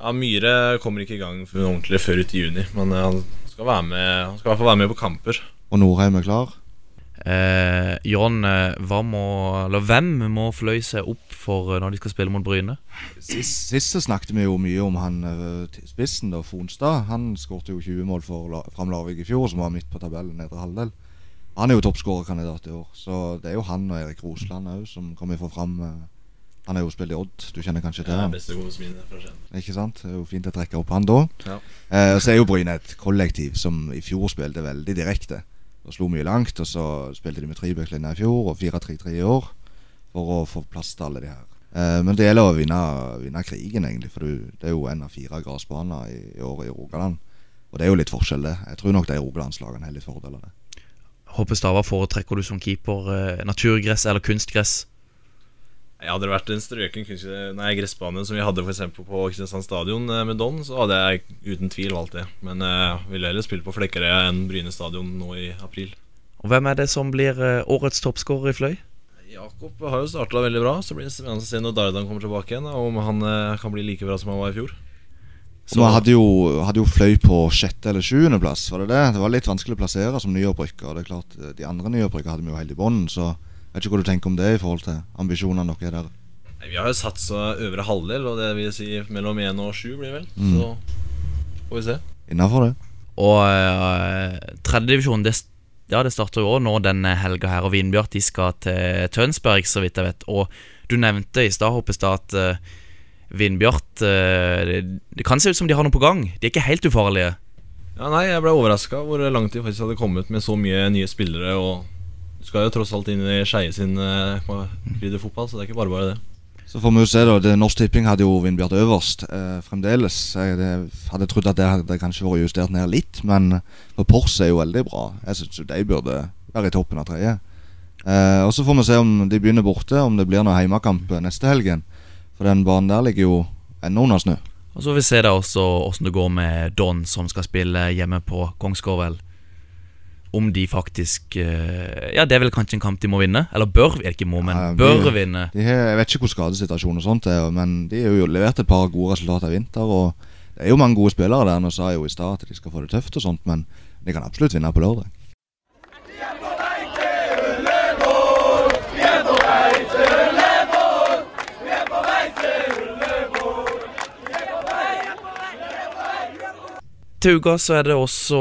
S5: Ja, Myhre kommer ikke i gang for ordentlig før ut i juni, men eh, han skal være med Han skal i hvert fall være med på kamper.
S4: Og Norheim er klar?
S3: Eh, John, eh, hva må, eller hvem må fløy seg opp for eh, når de skal spille mot Bryne?
S4: Sist, sist så snakket vi jo mye om han eh, til spissen, da, Fonstad. Han skårte jo 20 mål for La Fram Larvik i fjor, som var midt på tabellen nedre halvdel. Han er jo toppskårerkandidat i år, så det er jo han og Erik Rosland òg som kommer fra Fram. eh. Han har jo spilt i Odd, du kjenner kanskje til
S5: Ja,
S4: han?
S5: beste gode mine fra Skien.
S4: Ikke sant? Det er jo fint å trekke opp han da.
S5: Ja.
S4: Eh, og så er jo Bryne et kollektiv som i fjor spilte veldig direkte. Og slo mye langt, og så spilte de med trebøklinja i fjor, og 4-3-3 i år, for å få plass til alle de her. Eh, men det gjelder å vinne, vinne krigen, egentlig, for du, det er jo en av fire gressbaner i, i år i Rogaland. Og det er jo litt forskjell, det. Jeg tror nok de Rogalandslagene har litt fordeler av det.
S3: Håper Stava foretrekker du som keeper eh, naturgress eller kunstgress?
S5: Jeg hadde det vært en strøken kunst... Nei, gressbane som vi hadde for eksempel på Kristiansand stadion eh, med Don, så hadde jeg uten tvil valgt det. Men jeg ville heller spille på Flekkerøya enn Bryne stadion nå i april.
S3: Og hvem er det som blir eh, årets toppskårer i fløy?
S5: Jakob har jo starta veldig bra, så blir det spennende å se når Dardan kommer tilbake igjen. da, Om han eh, kan bli like bra som han var i fjor.
S4: Så vi hadde jo, hadde jo fløy på sjette eller sjuende plass, var det det? Det var litt vanskelig å plassere som nyopprykka. og Det er klart, eh, de andre nyopprykka hadde vi jo helt i bånn, så jeg vet ikke hva du tenker om det i forhold til ambisjonene dere har der.
S5: Nei, Vi har jo satsa øvre halvdel, og det vil si mellom én og sju, blir det vel.
S4: Mm.
S5: Så får vi se.
S4: Innafor det.
S3: Og eh, tredjedivisjonen, det, ja, det starter jo også nå denne helga her. Og Vinbjart de skal til Tønsberg, så vidt jeg vet. Og du nevnte i stad, Hoppestad, at eh, Vindbjart eh, det, det kan se ut som de har noe på gang. De er ikke helt ufarlige.
S5: Ja, nei, jeg ble overraska hvor langt de faktisk hadde kommet med så mye nye spillere. Og du skal jo tross alt inn i Skeie sin eh, på- krydderfotball, så det er ikke bare bare det.
S4: Så får vi jo se, da. Det, Norsk Tipping hadde jo Vindbjart øverst eh, fremdeles. Jeg det, hadde trodd at det hadde kanskje vært justert ned litt, men for Pors er jo veldig bra. Jeg syns jo de burde være i toppen av tredje. Eh, og så får vi se om de begynner borte, om det blir noen heimekamp neste helgen. For den banen der ligger jo ennå under snø.
S3: Og så får vi se da også åssen det går med Don, som skal spille hjemme på Kongsgårdvel. Om de faktisk eh, Ja, det er vel kanskje en kamp de må vinne? Eller bør, er det ikke må, men
S4: Ja,
S3: bør
S4: de-
S3: vinne.
S4: De har, jeg vet ikke hvor skadesituasjonen og sånt er, men de har jo levert et par gode resultater i vinter. og Det er jo mange gode spillere der. Nå sa jeg jo i stad at de skal få det tøft, og sånt, men de kan absolutt vinne på lørdag.
S3: Til uka så er det også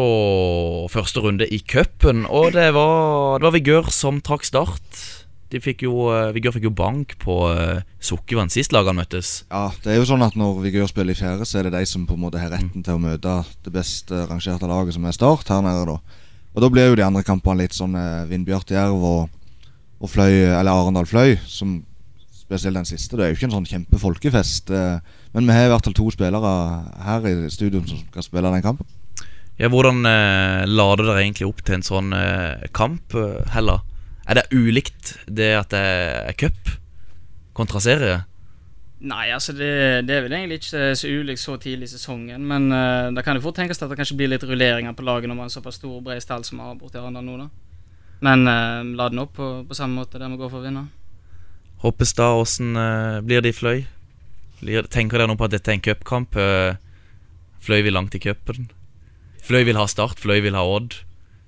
S3: første runde i cupen, og det var, det var Vigør som trakk start. De fikk jo, eh, Vigør fikk jo bank på eh, Sukkervann sist lagene møttes.
S4: Ja, det er jo sånn at Når Vigør spiller i fjerde, så er det de som på en måte har retten til å møte det best eh, rangerte laget, som er Start her nede. da. Og Da blir jo de andre kampene litt sånn eh, Vindbjart Jerv og, og Fløy, eller Arendal Fløy, som spesielt den siste. Det er jo ikke en sånn kjempefolkefest. eh, Men vi har i hvert fall to spillere her i studio som skal spille den kampen.
S3: Ja, Hvordan eh, lader dere egentlig opp til en sånn eh, kamp, eh, heller? Er det ulikt det at det er cup kontra serie?
S6: Nei, altså det, det er vel egentlig ikke så ulikt så tidlig i sesongen. Men eh, da kan det fort tenkes at det kanskje blir litt rulleringer på laget når man har såpass stor og bred stall som vi har borti Arendal nå, da. Men eh, la den opp på, på samme måte, der vi går for å vinne.
S3: Hoppestad, åssen eh, blir det i Fløy? Blir, tenker dere nå på at dette er en cupkamp? eh, Fløy vil langt i cupen. Fløy vil ha Start, Fløy vil ha Odd.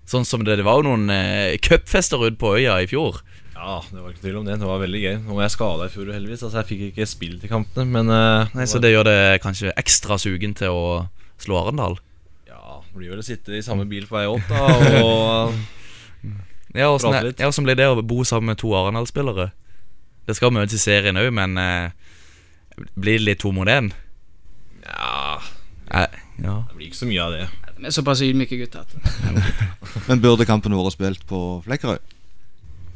S3: Sånn som det, det var jo noen eh, cupfester ute på øya i fjor.
S5: Ja, det var ikke tvil om det. Det var veldig gøy. Nå var jeg skada i fjor, heldigvis. Altså, jeg fikk ikke spilt i kampene, men eh,
S3: Nei, Så det gjør det kanskje ekstra sugen til å slå Arendal.
S5: ja, det blir vel å sitte i samme bil på vei opp, da, og
S3: Ja, åssen
S5: Prate
S3: er-
S5: litt.
S3: ja, åssen blir det å bo sammen med to Arendal-spillere? Det skal møtes i serien òg, men eh, blir det litt to mot én?
S5: Ja,
S3: Eh, Ja.
S5: det blir ikke så mye av det.
S6: Vi er såpass ydmyke gutter. at-
S4: Men burde kampen vært spilt på Flekkerøy?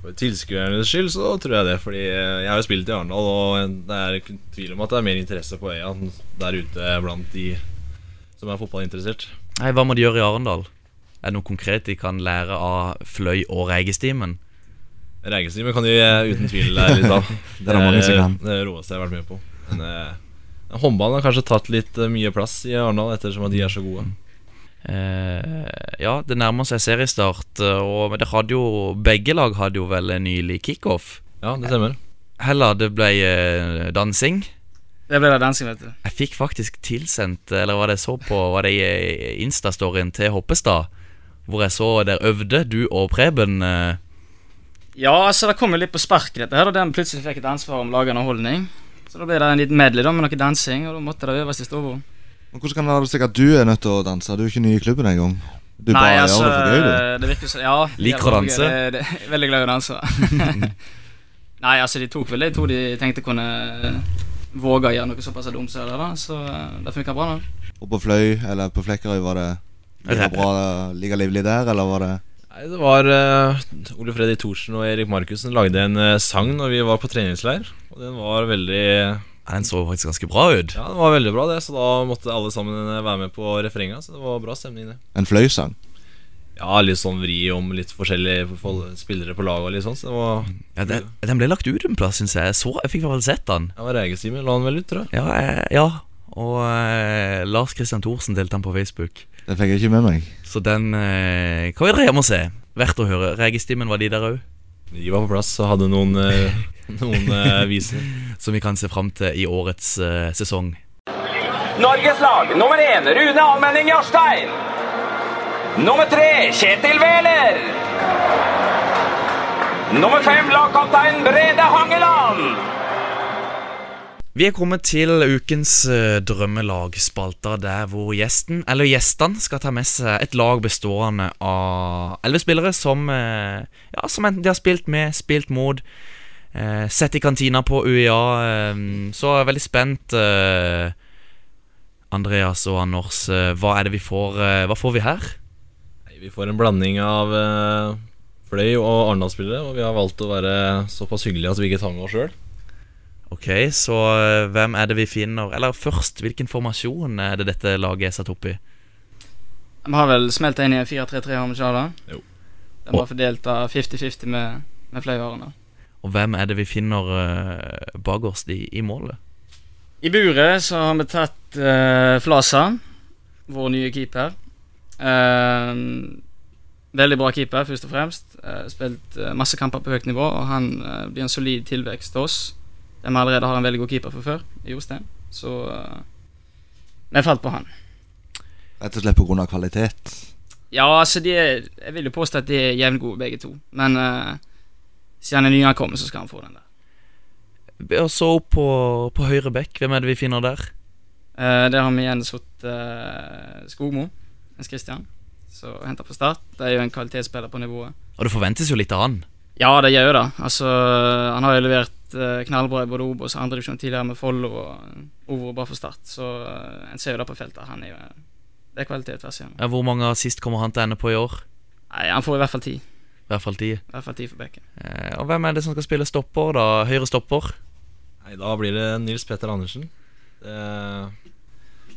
S5: For tilskuernes skyld så tror jeg det, fordi eh, jeg har jo spilt i Arendal, og det er ikke tvil om at det er mer interesse på øya der ute blant de som er fotballinteressert.
S3: Nei, hva må de gjøre i Arendal? Er det noe konkret de kan lære av Fløy og Reigestimen?
S5: Reigestimen kan de eh, uten tvil lære litt av.
S3: Det er det mange som kan.
S5: Det råeste jeg har vært med på. Men eh, håndballen har kanskje tatt litt eh, mye plass i Arendal, ettersom at de er så gode.
S3: Eh, ja, det nærmer seg seriestart, eh, og men det hadde jo Begge lag hadde jo vel en nylig kickoff.
S5: Ja, det stemmer.
S3: Heller det ble eh, dansing.
S6: Det ble da dansing, vet du.
S3: Jeg fikk faktisk tilsendt, eh, eller var det jeg så på, var det i eh, Insta-storyen til Hoppestad, hvor jeg så der øvde du og Preben. eh,
S6: Ja, altså, det kom jo litt på sparket, dette her, og den plutselig fikk et ansvar om å lage underholdning. Så da ble det en liten medley da, med noe dansing, og da måtte det øves i storbord.
S4: Men hvordan kan det være sikkert at du er nødt til å danse? Du er ikke ny i klubben engang. Du bare
S3: altså,
S4: gjør det for gøy, du.
S6: altså, det virker så, ja,
S4: Liker
S6: det er
S4: å danse?
S6: veldig gøy. Det- det- jeg er Veldig glad i å danse. Nei, altså, de tok vel de to de tenkte kunne våge å gjøre noe såpass dumt som det der, da. Så eh, det funka bra, da.
S4: Og på Fløy, eller på Flekkerøy, var det like bra like livlig der, eller var det
S5: Nei, det var eh, Ole Fredrik Thorsen og Erik Markussen lagde en eh, sang når vi var på treningsleir. Og den var veldig
S3: Ja, Den så faktisk ganske bra ut.
S5: Ja, den var veldig bra, det. Så da måtte alle sammen eh, være med på refrenget. Så det var bra stemning, det.
S4: en fløysang?
S5: Ja, litt sånn vri om litt forskjellige fol- spillere på laget og litt sånn. Så det var
S3: Ja, den, den ble lagt ut en plass, syns jeg. Jeg, så, jeg fikk i hvert fall sett den.
S5: Det var Regestimen la den vel ut, tror jeg.
S3: Ja, eh, ja. og eh, Lars Christian Thorsen delte den på Facebook.
S4: Den fikk jeg ikke med meg.
S3: Så den eh, kan vi dra hjem og se. Verdt å høre. Regestimen var de der òg.
S5: De var på plass og hadde noen, noen eh, viser.
S3: Som vi kan se fram til i årets eh, sesong.
S11: Norges lag nummer én Rune Almenning Jarstein. Nummer tre Kjetil Wæler. Nummer fem lagkaptein Brede Hangeland.
S3: Vi er kommet til ukens eh, drømmelagspalter, der hvor gjesten, eller gjestene, skal ta med seg et lag bestående av elleve spillere som eh, Ja, som enten de har spilt med, spilt mot, eh, sett i kantina på UiA. Eh, så er jeg veldig spent. Eh, Andreas og Anders, eh, hva er det vi får eh, Hva får vi her?
S5: Vi får en blanding av eh, Fløy og Arendal-spillere, og vi har valgt å være såpass hyggelige at vi ikke tar med oss sjøl.
S3: Ok, så eh, hvem er det vi finner Eller først, hvilken formasjon er det dette laget er satt opp i?
S6: Vi har vel smelta inn i en 4-3-3, har vi ikke det? da?
S5: Jo.
S6: Den var fordelt av 50-50 med, med flere årene.
S3: Og hvem er det vi finner eh, bakerst i, i målet?
S6: I buret så har vi tatt eh, Flasa, vår nye keeper. Eh, veldig bra keeper, først og fremst. Eh, spilt eh, masse kamper på høyt nivå, og han eh, blir en solid tilvekst til oss. De allerede har en veldig god keeper fra før, i Jostein, så eh, vi falt på han.
S4: Rett og slett pga. kvalitet.
S6: Ja, altså de er, Jeg vil jo påstå at de er jevngode, begge to. Men eh, siden han er nyankommet, så skal han få den der.
S3: Og så opp på, på høyre bekk, hvem er det vi finner der?
S6: Eh, der har vi igjen satt eh, Skogmo, Jens Christian, som henter på start. Det er jo en kvalitetsspiller på nivået.
S3: Og det forventes jo litt av han.
S6: Ja, det gjør jo det. Altså, han har jo levert eh, knallbra i både Obos og andre divisjon tidligere med Follo og Ovo bare for Start, så eh, en ser jo det på feltet. Han er jo eh, Det er kvalitet tvers igjennom.
S3: Ja, eh, Hvor mange assist kommer han til å ende på i år?
S6: Nei, han får i hvert fall ti.
S3: I hvert fall ti.
S6: I hvert fall ti for bekken.
S3: Eh, og hvem er det som skal spille stopper, da? Høyre stopper?
S5: Nei, da blir det Nils Petter Andersen. Eh,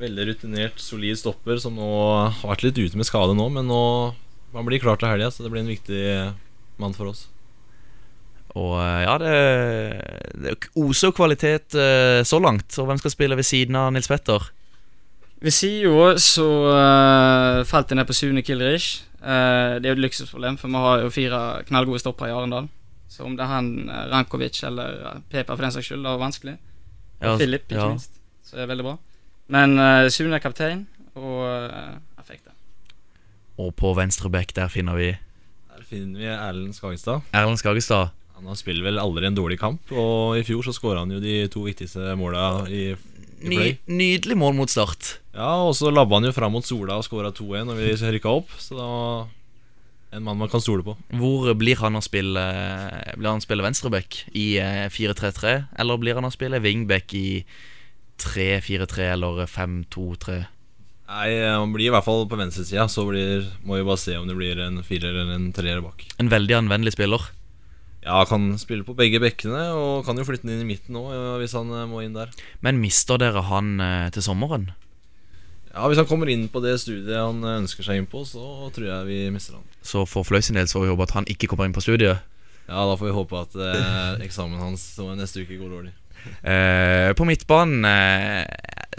S5: veldig rutinert, solid stopper som nå har vært litt ute med skade nå, men nå han blir klar til helga, så det blir en viktig mann for oss.
S3: Og eh, ja, det, det oser jo kvalitet eh, så langt. Og hvem skal spille ved siden av Nils Petter?
S6: Ved sida så eh, falt jeg ned på Sune Kilrich. Eh, det er jo et luksusproblem, for vi har jo fire knallgode stoppere i Arendal. Så om det er han eh, Rankovic eller eh, Peper for den saks skyld, det er vanskelig. Og
S3: Ja,
S6: Philip, ikke
S3: ja.
S6: minst. Så det er veldig bra. Men eh, Sune er kaptein, og eh, jeg fikk det.
S3: Og på venstre bekk der finner vi
S5: Her finner vi Erlend Skagestad.
S3: Erlend Skagestad.
S5: Han har spiller vel aldri en dårlig kamp, og i fjor så skåra han jo de to viktigste måla i, i
S3: Ny,
S5: play.
S3: nydelig mål mot Start.
S5: Ja, og så labba han jo fram mot Sola og skåra 2-1 når vi rykka opp, så da En mann man kan stole på.
S3: Hvor blir han å spille Blir han å spille venstreback i eh, 4-3-3? Eller blir han å spille wingback i 3-4-3 eller 5-2-3?
S5: Nei, eh, han blir i hvert fall på venstresida, så blir, må vi bare se om det blir en firer eller en treer bak.
S3: En veldig anvendelig spiller.
S5: Ja, kan spille på begge bekkene, og kan jo flytte den inn i midten nå ja, hvis han eh, må inn der.
S3: Men mister dere han eh, til sommeren?
S5: Ja, Hvis han kommer inn på det studiet han eh, ønsker seg inn på, så tror jeg vi mister han.
S3: Så for Fløy sin del så får vi håpe at han ikke kommer inn på studiet.
S5: Ja, da får vi håpe at eh, eksamen hans som er neste uke går dårlig.
S3: Eh, på midtbanen eh,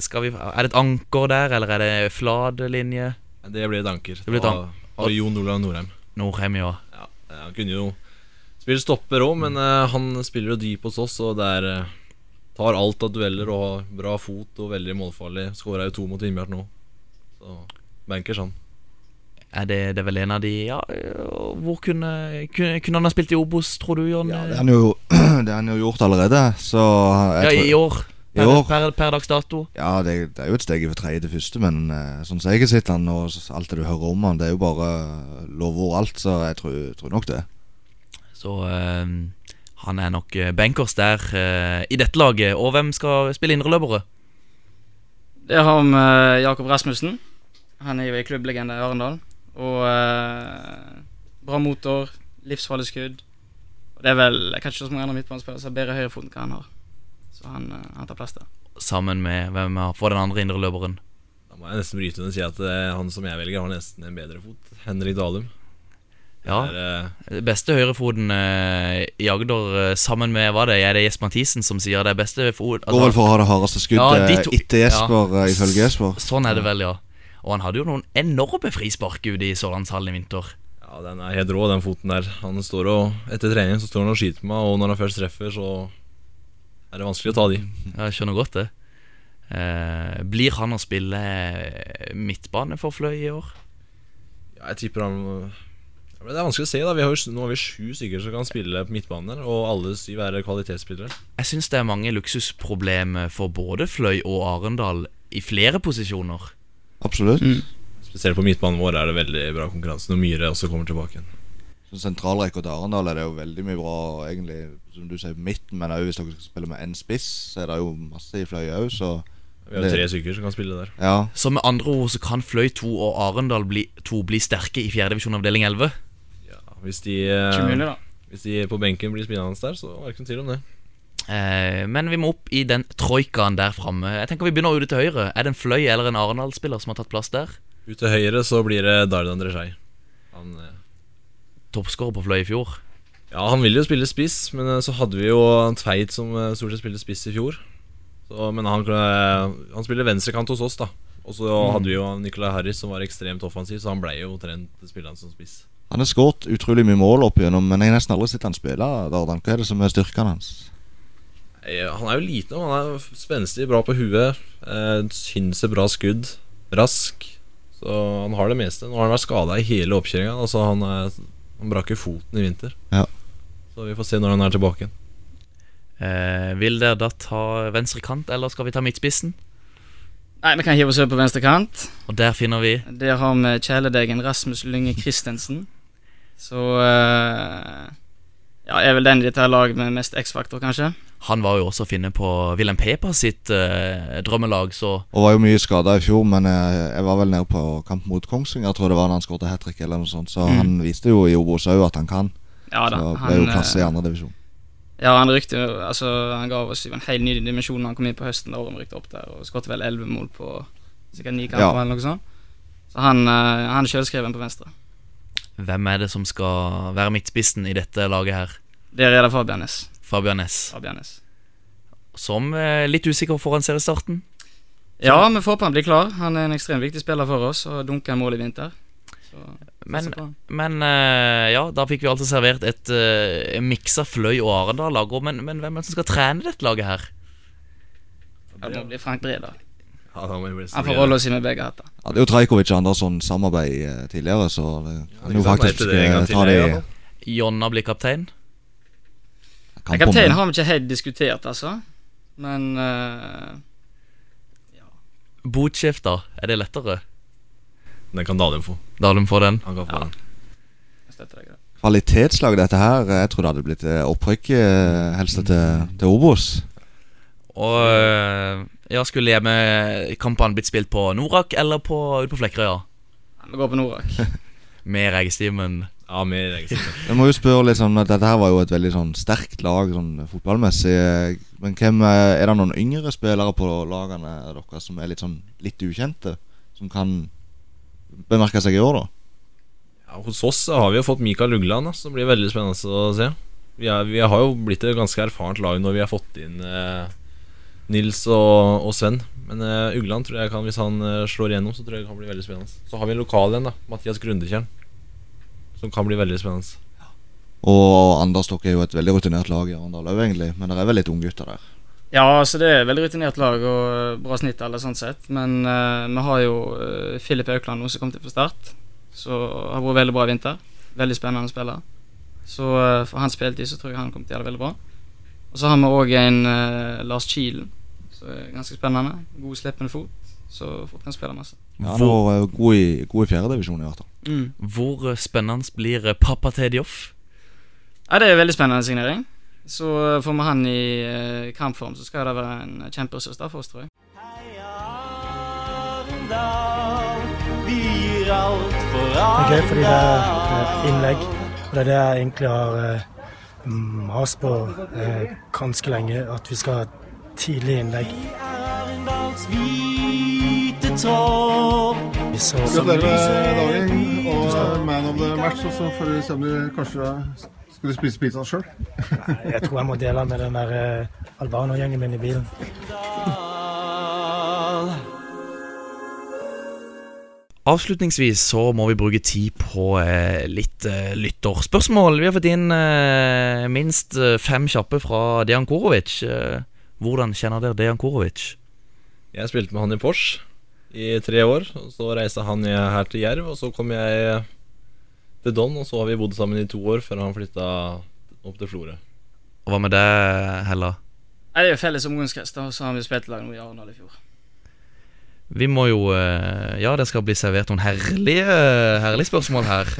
S3: skal vi, Er det et anker der, eller er det flat linje?
S5: Det blir et anker.
S3: Det blir et
S5: Da
S3: anker.
S5: Har vi Jon Olav Norheim.
S3: Norheim, ja.
S5: Eh, Han kunne jo spille stopper òg, men eh, han spiller jo dyp hos oss, og det er eh, Tar alt av dueller og har bra fot og veldig målfarlig. Skåra jo to mot Vindbjart nå. Så bankers, han.
S3: Er det, det er vel en av de ja, eh, Hvor kunne, kunne, kunne han ha spilt i Obos, tror du, Jon?
S4: Det har han jo, det har han jo gjort allerede, så jeg
S3: Ja,
S4: tror-
S3: i år.
S4: I år.
S3: Per, per dags dato.
S4: Ja, det, det er jo et steg fra tredje til første, men eh, sånn som jeg sitter han, og s- alt det du hører om han, det er jo bare lovord alt, så jeg tror, tror nok det.
S3: Så eh, han er nok eh, bankers der eh, i dette laget. Og hvem skal spille indreløpere?
S6: Det har vi med Jakob Rasmussen. Han er jo i klubblegende i Arendal. Og eh, bra motor, livsfarlig skudd. Og det er vel jeg kan ikke så mange andre midtbanespillere som har bedre høyrefot enn hva han har. Så han, eh, han tar plass der.
S3: Sammen med hvem er, for den andre indreløperen?
S5: Da må jeg nesten bryte inn og si at eh, han som jeg velger, har nesten en bedre fot. Henrik Dalum.
S3: Ja.
S5: eh,
S3: Beste høyrefoten eh, i Agder eh, sammen med hva det er, er det Jesper Mathisen som sier det er beste altså, fot
S6: Altså-
S4: Går vel for å ha det hardeste skuddet
S3: de to-
S4: etter Jesper, eh, ifølge
S3: S-
S4: Jesper.
S3: Sånn er det vel, ja. Og han hadde jo noen enorme frispark ute i Sørlandshallen i vinter.
S5: Ja, den er helt rå, den foten der. Han står og Etter trening så står han og skyter på meg, og når han først treffer, så er det vanskelig å ta de.
S3: Ja, Jeg skjønner godt det. Eh, blir han å spille eh, midtbane for Fløy i år?
S5: Ja, jeg tipper han ja, men Det er vanskelig å se, da. Vi har jo, nå har vi sju stykker som kan spille på midtbanen der, og alle syv er kvalitetsspillere.
S3: Jeg syns det er mange luksusproblemer for både Fløy og Arendal i flere posisjoner.
S4: Absolutt.
S6: Mm.
S5: Spesielt på midtbanen vår er det veldig bra konkurranse når Myhre også kommer tilbake igjen.
S4: Så Sentralrekka til Arendal er det jo veldig mye bra, egentlig, som du sier, på midten, men også hvis dere skal spille med én spiss, så er det jo masse i fløya òg, så
S5: Vi har jo tre stykker som kan spille der.
S4: Ja.
S3: Så med andre ord så kan Fløy 2 og Arendal bli, 2 bli sterke i 4. divisjon avdeling 11.
S5: Hvis de, eh,
S3: Ikke mulig, da.
S5: hvis de på benken blir spillende der, så er det ikke noe tvil om det.
S3: Eh, men vi må opp i den troikaen der framme. Jeg tenker vi begynner ute til høyre. Er det en Fløy eller en Arendal-spiller som har tatt plass der?
S5: Ut til høyre så blir det Dardan Dreshai. Han eh,
S3: Toppskårer på Fløy i fjor.
S5: Ja, han ville jo spille spiss, men eh, så hadde vi jo Tveit som eh, stort sett spilte spiss i fjor. Så, men han, kunne- han spiller venstrekant hos oss, da. Og så
S4: Mm.
S5: hadde vi jo Nicolay Harris som var ekstremt offensiv, så han ble jo trent spillende som spiss.
S4: Han har skåret utrolig mye mål opp igjennom, men jeg har nesten aldri sett han spille. Dardan. Hva er det som er styrkene hans?
S5: Eh, Han er jo liten, og han er spenstig, bra på huet. Eh, Synser bra skudd. Rask. Så han har det meste. Nå har han vært skada i hele oppkjøringa. Altså, han, er- han brakk jo foten i vinter.
S4: Ja.
S5: Så vi får se når han er tilbake igjen.
S3: Eh, vil dere da ta venstre kant, eller skal vi ta midtspissen?
S6: Nei, vi kan hive oss over på venstre kant.
S3: Og der finner vi
S6: Der har vi kjæledeggen Rasmus Lynge Christensen. Så eh, Ja, er vel den i dette laget med mest X-faktor, kanskje.
S3: Han var jo også å finne på Wilhelm Pepa sitt eh, drømmelag, så
S4: Og var jo mye skada i fjor, men eh, jeg var vel nede på kamp mot Kongsvinger, tror jeg det var, da han skåret hat trick eller noe sånt, så
S6: Mm.
S4: han viste jo i Obos òg at han kan.
S6: Ja da,
S4: så ble
S6: han,
S4: jo klasse i
S6: eh,
S4: andre divisjon.
S6: Ja, han rykte jo- Altså, han ga oss jo en helt ny dimensjon når han kom inn på høsten. Da Orm rykte opp der og skåret vel elleve mål på sikkert ni kamper,
S3: Ja.
S6: eller noe sånt. Så han, eh, han er sjølskreven på venstre.
S3: hvem er det som skal være midtspissen i dette laget her?
S6: Der er det Fabian Næss.
S3: Fabian Næss.
S6: Fabian Næss.
S3: Som eh, litt usikker foran seriestarten.
S6: Ja, vi får håpe han blir klar. Han er en ekstremt viktig spiller for oss og dunker en mål i vinter. Så,
S3: Men,
S6: satser på han.
S3: men eh, ja, da fikk vi altså servert et eh, miksa Fløy og Arendal-lag. og Men, men hvem er det som skal trene dette laget her?
S6: Ja, det må bli Frank Breda.
S5: Ja, da må vi bli
S6: Han får rolle oss i med begge hatter.
S4: Ja, det er jo Trajkovic og Andersson samarbeid eh, tidligere, så det kan jo faktisk eh, ta det i
S3: Jonna blir kaptein.
S6: Ja,
S4: kamp om
S6: Kapteinen
S4: det.
S6: har vi ikke helt diskutert, altså. Men eh,
S3: Botsjef, da? Er det lettere?
S5: Den kan Dalum få.
S3: Dalum får den?
S5: Han kan få den.
S6: jeg støtter deg. i det.
S4: Kvalitetslag, dette her. Jeg tror det hadde blitt eh, opprykk eh, helst til, til Obos.
S3: Og eh, ja, skulle hjemmekampene blitt spilt på Norak eller på, ute på Flekkerøya?
S6: Vi går på Norak.
S3: Med Regestimen.
S5: Ja, mer egenskaper.
S4: Jeg må jo spørre litt sånn at Dette her var jo et veldig sånn sterkt lag sånn fotballmessig. Men hvem eh, er det noen yngre spillere på lagene deres som er litt sånn litt ukjente? Som kan bemerke seg i år, da?
S5: Ja, hos oss så har vi jo fått Mikael Lugland, da, som blir veldig spennende å se. Vi, er, vi har jo blitt et ganske erfarent lag når vi har fått inn eh, Nils og, og Sven. Men eh, Ugland tror jeg kan, hvis han eh, slår igjennom, så tror jeg det kan bli veldig spennende. Så har vi en lokal en, da, Mathias Grundetjern, som kan bli veldig spennende.
S4: Og Anders Stokke er jo et veldig rutinert lag i Arendal òg, egentlig. Men det er vel litt unggutter der.
S6: Ja, så det er veldig rutinert lag og eh, bra snitt, eller sånn sett. Men eh, vi har jo eh, Filip Aukland nå som kom til for Start. Så har vært veldig bra i vinter. Veldig spennende spiller. Så eh, for hans spilletid så tror jeg han kommer til å gjøre det veldig bra. Og så har vi òg en eh, Lars Kielen, som er ganske spennende. God slippende fot, så fort kan spille masse.
S4: Ja, han var eh, god i, god i fjerdedivisjon i hvert fall.
S6: Mm.
S3: Hvor eh, spennende blir eh, pappa Tedjoff?
S6: Ja, det er en veldig spennende signering. Så eh, får vi han i eh, kampform, så skal det være en kjemperessurs der for oss, tror jeg.
S8: Arendal. Vi gir alt for
S12: Det er gøy fordi det er
S8: Arendal.
S12: eh, innlegg, og det er det jeg egentlig har eh, mast på eh, ganske lenge, at vi skal ha tidlig innlegg.
S8: Arendals hvite tråd.
S12: Vi så
S13: Gratulerer med dagen og man of the match, og så får vi se om du kanskje skal du spise pizzaen sjøl.
S12: Jeg tror jeg må dele med den der eh, albanergjengen min i bilen.
S3: Avslutningsvis så må vi bruke tid på eh, litt eh, lytterspørsmål. Vi har fått inn eh, minst eh, fem kjappe fra Dejan Korovic. Eh, hvordan kjenner dere Dejan Korovic?
S5: Jeg spilte med han i Porsche i tre år. og Så reiste han jeg her til Jerv, og så kom jeg til Don, og så har vi bodd sammen i to år før han flytta opp til Florø.
S3: Og hva med deg, Hella?
S6: Nei, det er jo felles omgangskrets, da, og så har vi spilt i lag nå i Arendal i fjor.
S3: Vi må jo eh, Ja, det skal bli servert noen herlige, eh, herlige spørsmål her.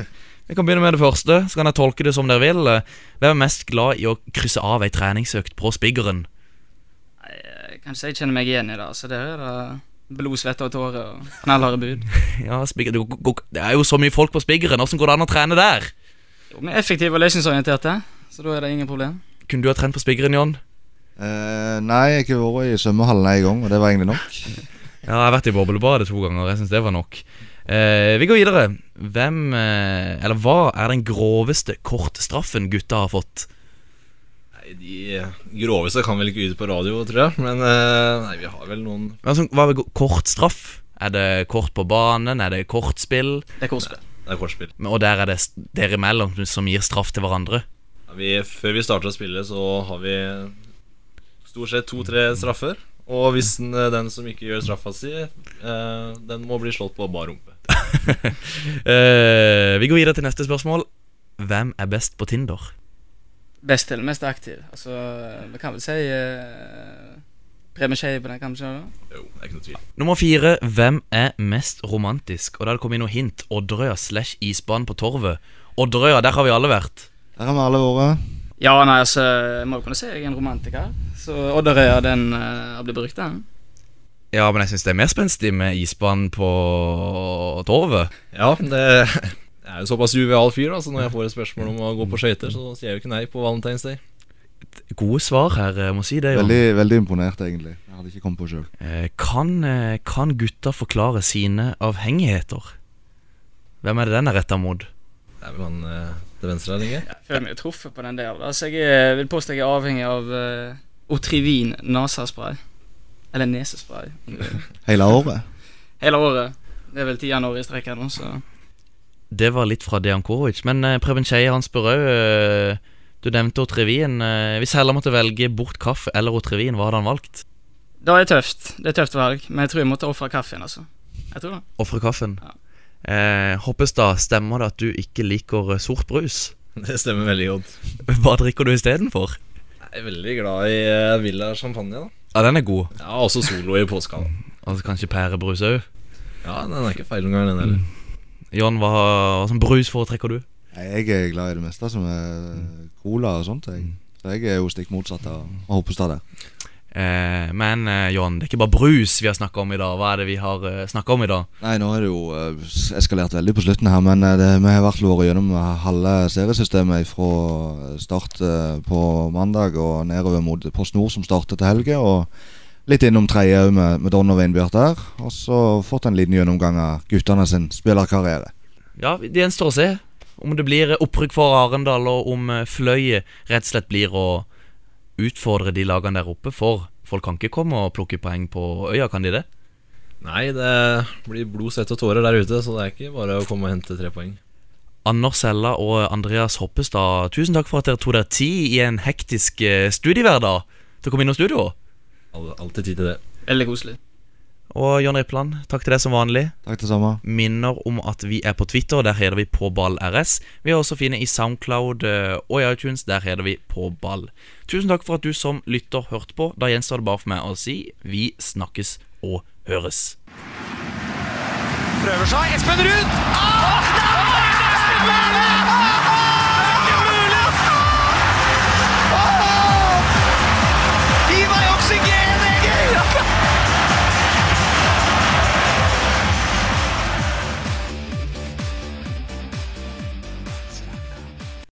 S3: Vi kan begynne med det første, så kan jeg tolke det som dere vil. Hvem er mest glad i å krysse av ei treningsøkt på spiggeren?
S6: Jeg kan ikke si Eh, jeg kjenner meg igjen i det. Så der er det blod, svette og tårer og knallharde bud.
S3: Ja, spigger, det, går- går- det er jo så mye folk på spiggeren, åssen går det an å trene der?
S6: Jo, Vi er effektive og løsningsorienterte, så da er det ingen problem.
S3: Kunne du ha trent på spiggeren, Jon?
S4: Eh, nei, jeg har ikke vært i svømmehallen en gang, og det var egentlig nok.
S3: Ja, jeg har vært i boblebadet to ganger. Jeg syns det var nok. Eh, vi går videre. Hvem eh, Eller hva er den groveste kortstraffen gutta har fått?
S5: Nei, De groveste kan vel ikke ut på radio, tror jeg, men eh, nei, vi har vel noen
S3: Altså, hva er go- kortstraff? Er det kort på banen? Er det kortspill?
S6: Det er kortspill.
S5: Det er kortspill.
S3: Men- Og der er det s- dere imellom som gir straff til hverandre?
S5: Ja, Vi, før vi starter å spille, så har vi stort sett to-tre straffer. Og hvis den, eh, den som ikke gjør straffa si, eh, den må bli slått på bar rumpe.
S3: Eh, vi går videre til neste spørsmål. Hvem er best på Tinder?
S6: Best til, mest aktiv. Altså, vi kan vel si eh, Preben Skei på den, kan vi ikke det?
S5: Jo, det er ikke noe tvil.
S3: Nummer fire. Hvem er mest romantisk? Og da har det kommet inn noe hint. Odderøya slash isbanen på Torvet. Odderøya, der har vi alle vært.
S4: Der har vi alle vært.
S6: Ja, nei, altså, jeg må jo kunne si jeg er en romantiker. Så Odderøya, den eh, har blitt brukt, den.
S3: Ja, men jeg syns det er mer spenstig med isbanen på Torvet.
S5: Ja, det Jeg er jo såpass jovial fyr, da, så når jeg får et spørsmål om å gå på skøyter, så sier jeg jo ikke nei på Valentine's Day.
S3: Gode svar her, jeg må si det. Jon.
S4: Veldig, veldig imponert, egentlig. Jeg hadde ikke kommet på sjøl.
S3: Eh, Kan, eh, kan gutta forklare sine avhengigheter? Hvem er det den er retta mot?
S5: Det er vel han eh, til venstre her, ikke?
S6: Jeg føler meg jo truffet på den der. da. Altså, jeg er, vil påstå jeg er avhengig av eh, Otrivin nasaspray. Eller nesespray. om du vil.
S4: Hele året.
S6: Hele året. Det er vel tiende året i strekk her nå, så
S3: Det var litt fra Dejan Korovic. Men eh, Preben Skeie, han spør òg eh, Du nevnte Otrevien. Eh, hvis Hella måtte velge bort kaffe eller Otrevien, hva hadde han valgt?
S6: Det er tøft. Det er tøft valg, men jeg tror jeg måtte ofre kaffen, altså. Jeg tror det.
S3: Ofre kaffen? Eh, Hoppestad, stemmer det at du ikke liker eh, sort brus?
S5: Det stemmer veldig godt.
S3: Hva drikker du istedenfor?
S5: Jeg er veldig glad i eh, Villa champagne, da.
S3: Ja, den er god.
S5: Ja, også Solo i påska, da.
S3: Altså kanskje pærebrus òg?
S5: Ja, den er ikke feil noen gang, den heller.
S3: Jon, hva, hva slags brus foretrekker du?
S4: Nei, Jeg er glad i det meste som er cola og sånt. Jeg. Så jeg er jo stikk motsatt av av Hoppestad der.
S3: Eh, men eh, John, det er ikke bare brus vi har snakka om i dag. Hva er det vi har eh, snakka om i dag?
S4: Nei, nå er det jo eh, s- eskalert veldig på slutten her, men eh, det, vi har vært vært gjennom halve seriesystemet fra start eh, på mandag og nedover mot Post Nord som starter til helga, og litt innom tredje òg med, med Don og Veinbjørn der. Og så fått en liten gjennomgang av guttene sin spillerkarriere.
S3: Ja, Det gjenstår å se om det blir eh, opprykk for Arendal, og om eh, Fløy rett og slett blir å utfordre de lagene der oppe. For folk kan ikke komme og plukke poeng på øya, kan de det?
S5: Nei, det blir blod, svette og tårer der ute, så det er ikke bare å komme og hente tre poeng.
S3: Anders Hella og Andreas Hoppestad, tusen takk for at dere tok dere tid i en hektisk eh, studiehverdag til å komme innom studio.
S5: Alltid tid til det.
S6: Veldig koselig.
S3: Og Jon Rippland, takk til deg som vanlig.
S4: Takk det samme.
S3: Minner om at vi er på Twitter, der heter vi PåBallRS. Vi er også å finne i Soundcloud eh, og i iTunes, der heter vi PåBall. Tusen takk for at du som lytter hørte på. Da gjenstår det bare for meg å si vi snakkes og høres.
S2: Prøver seg. Espen Ruud! Ah!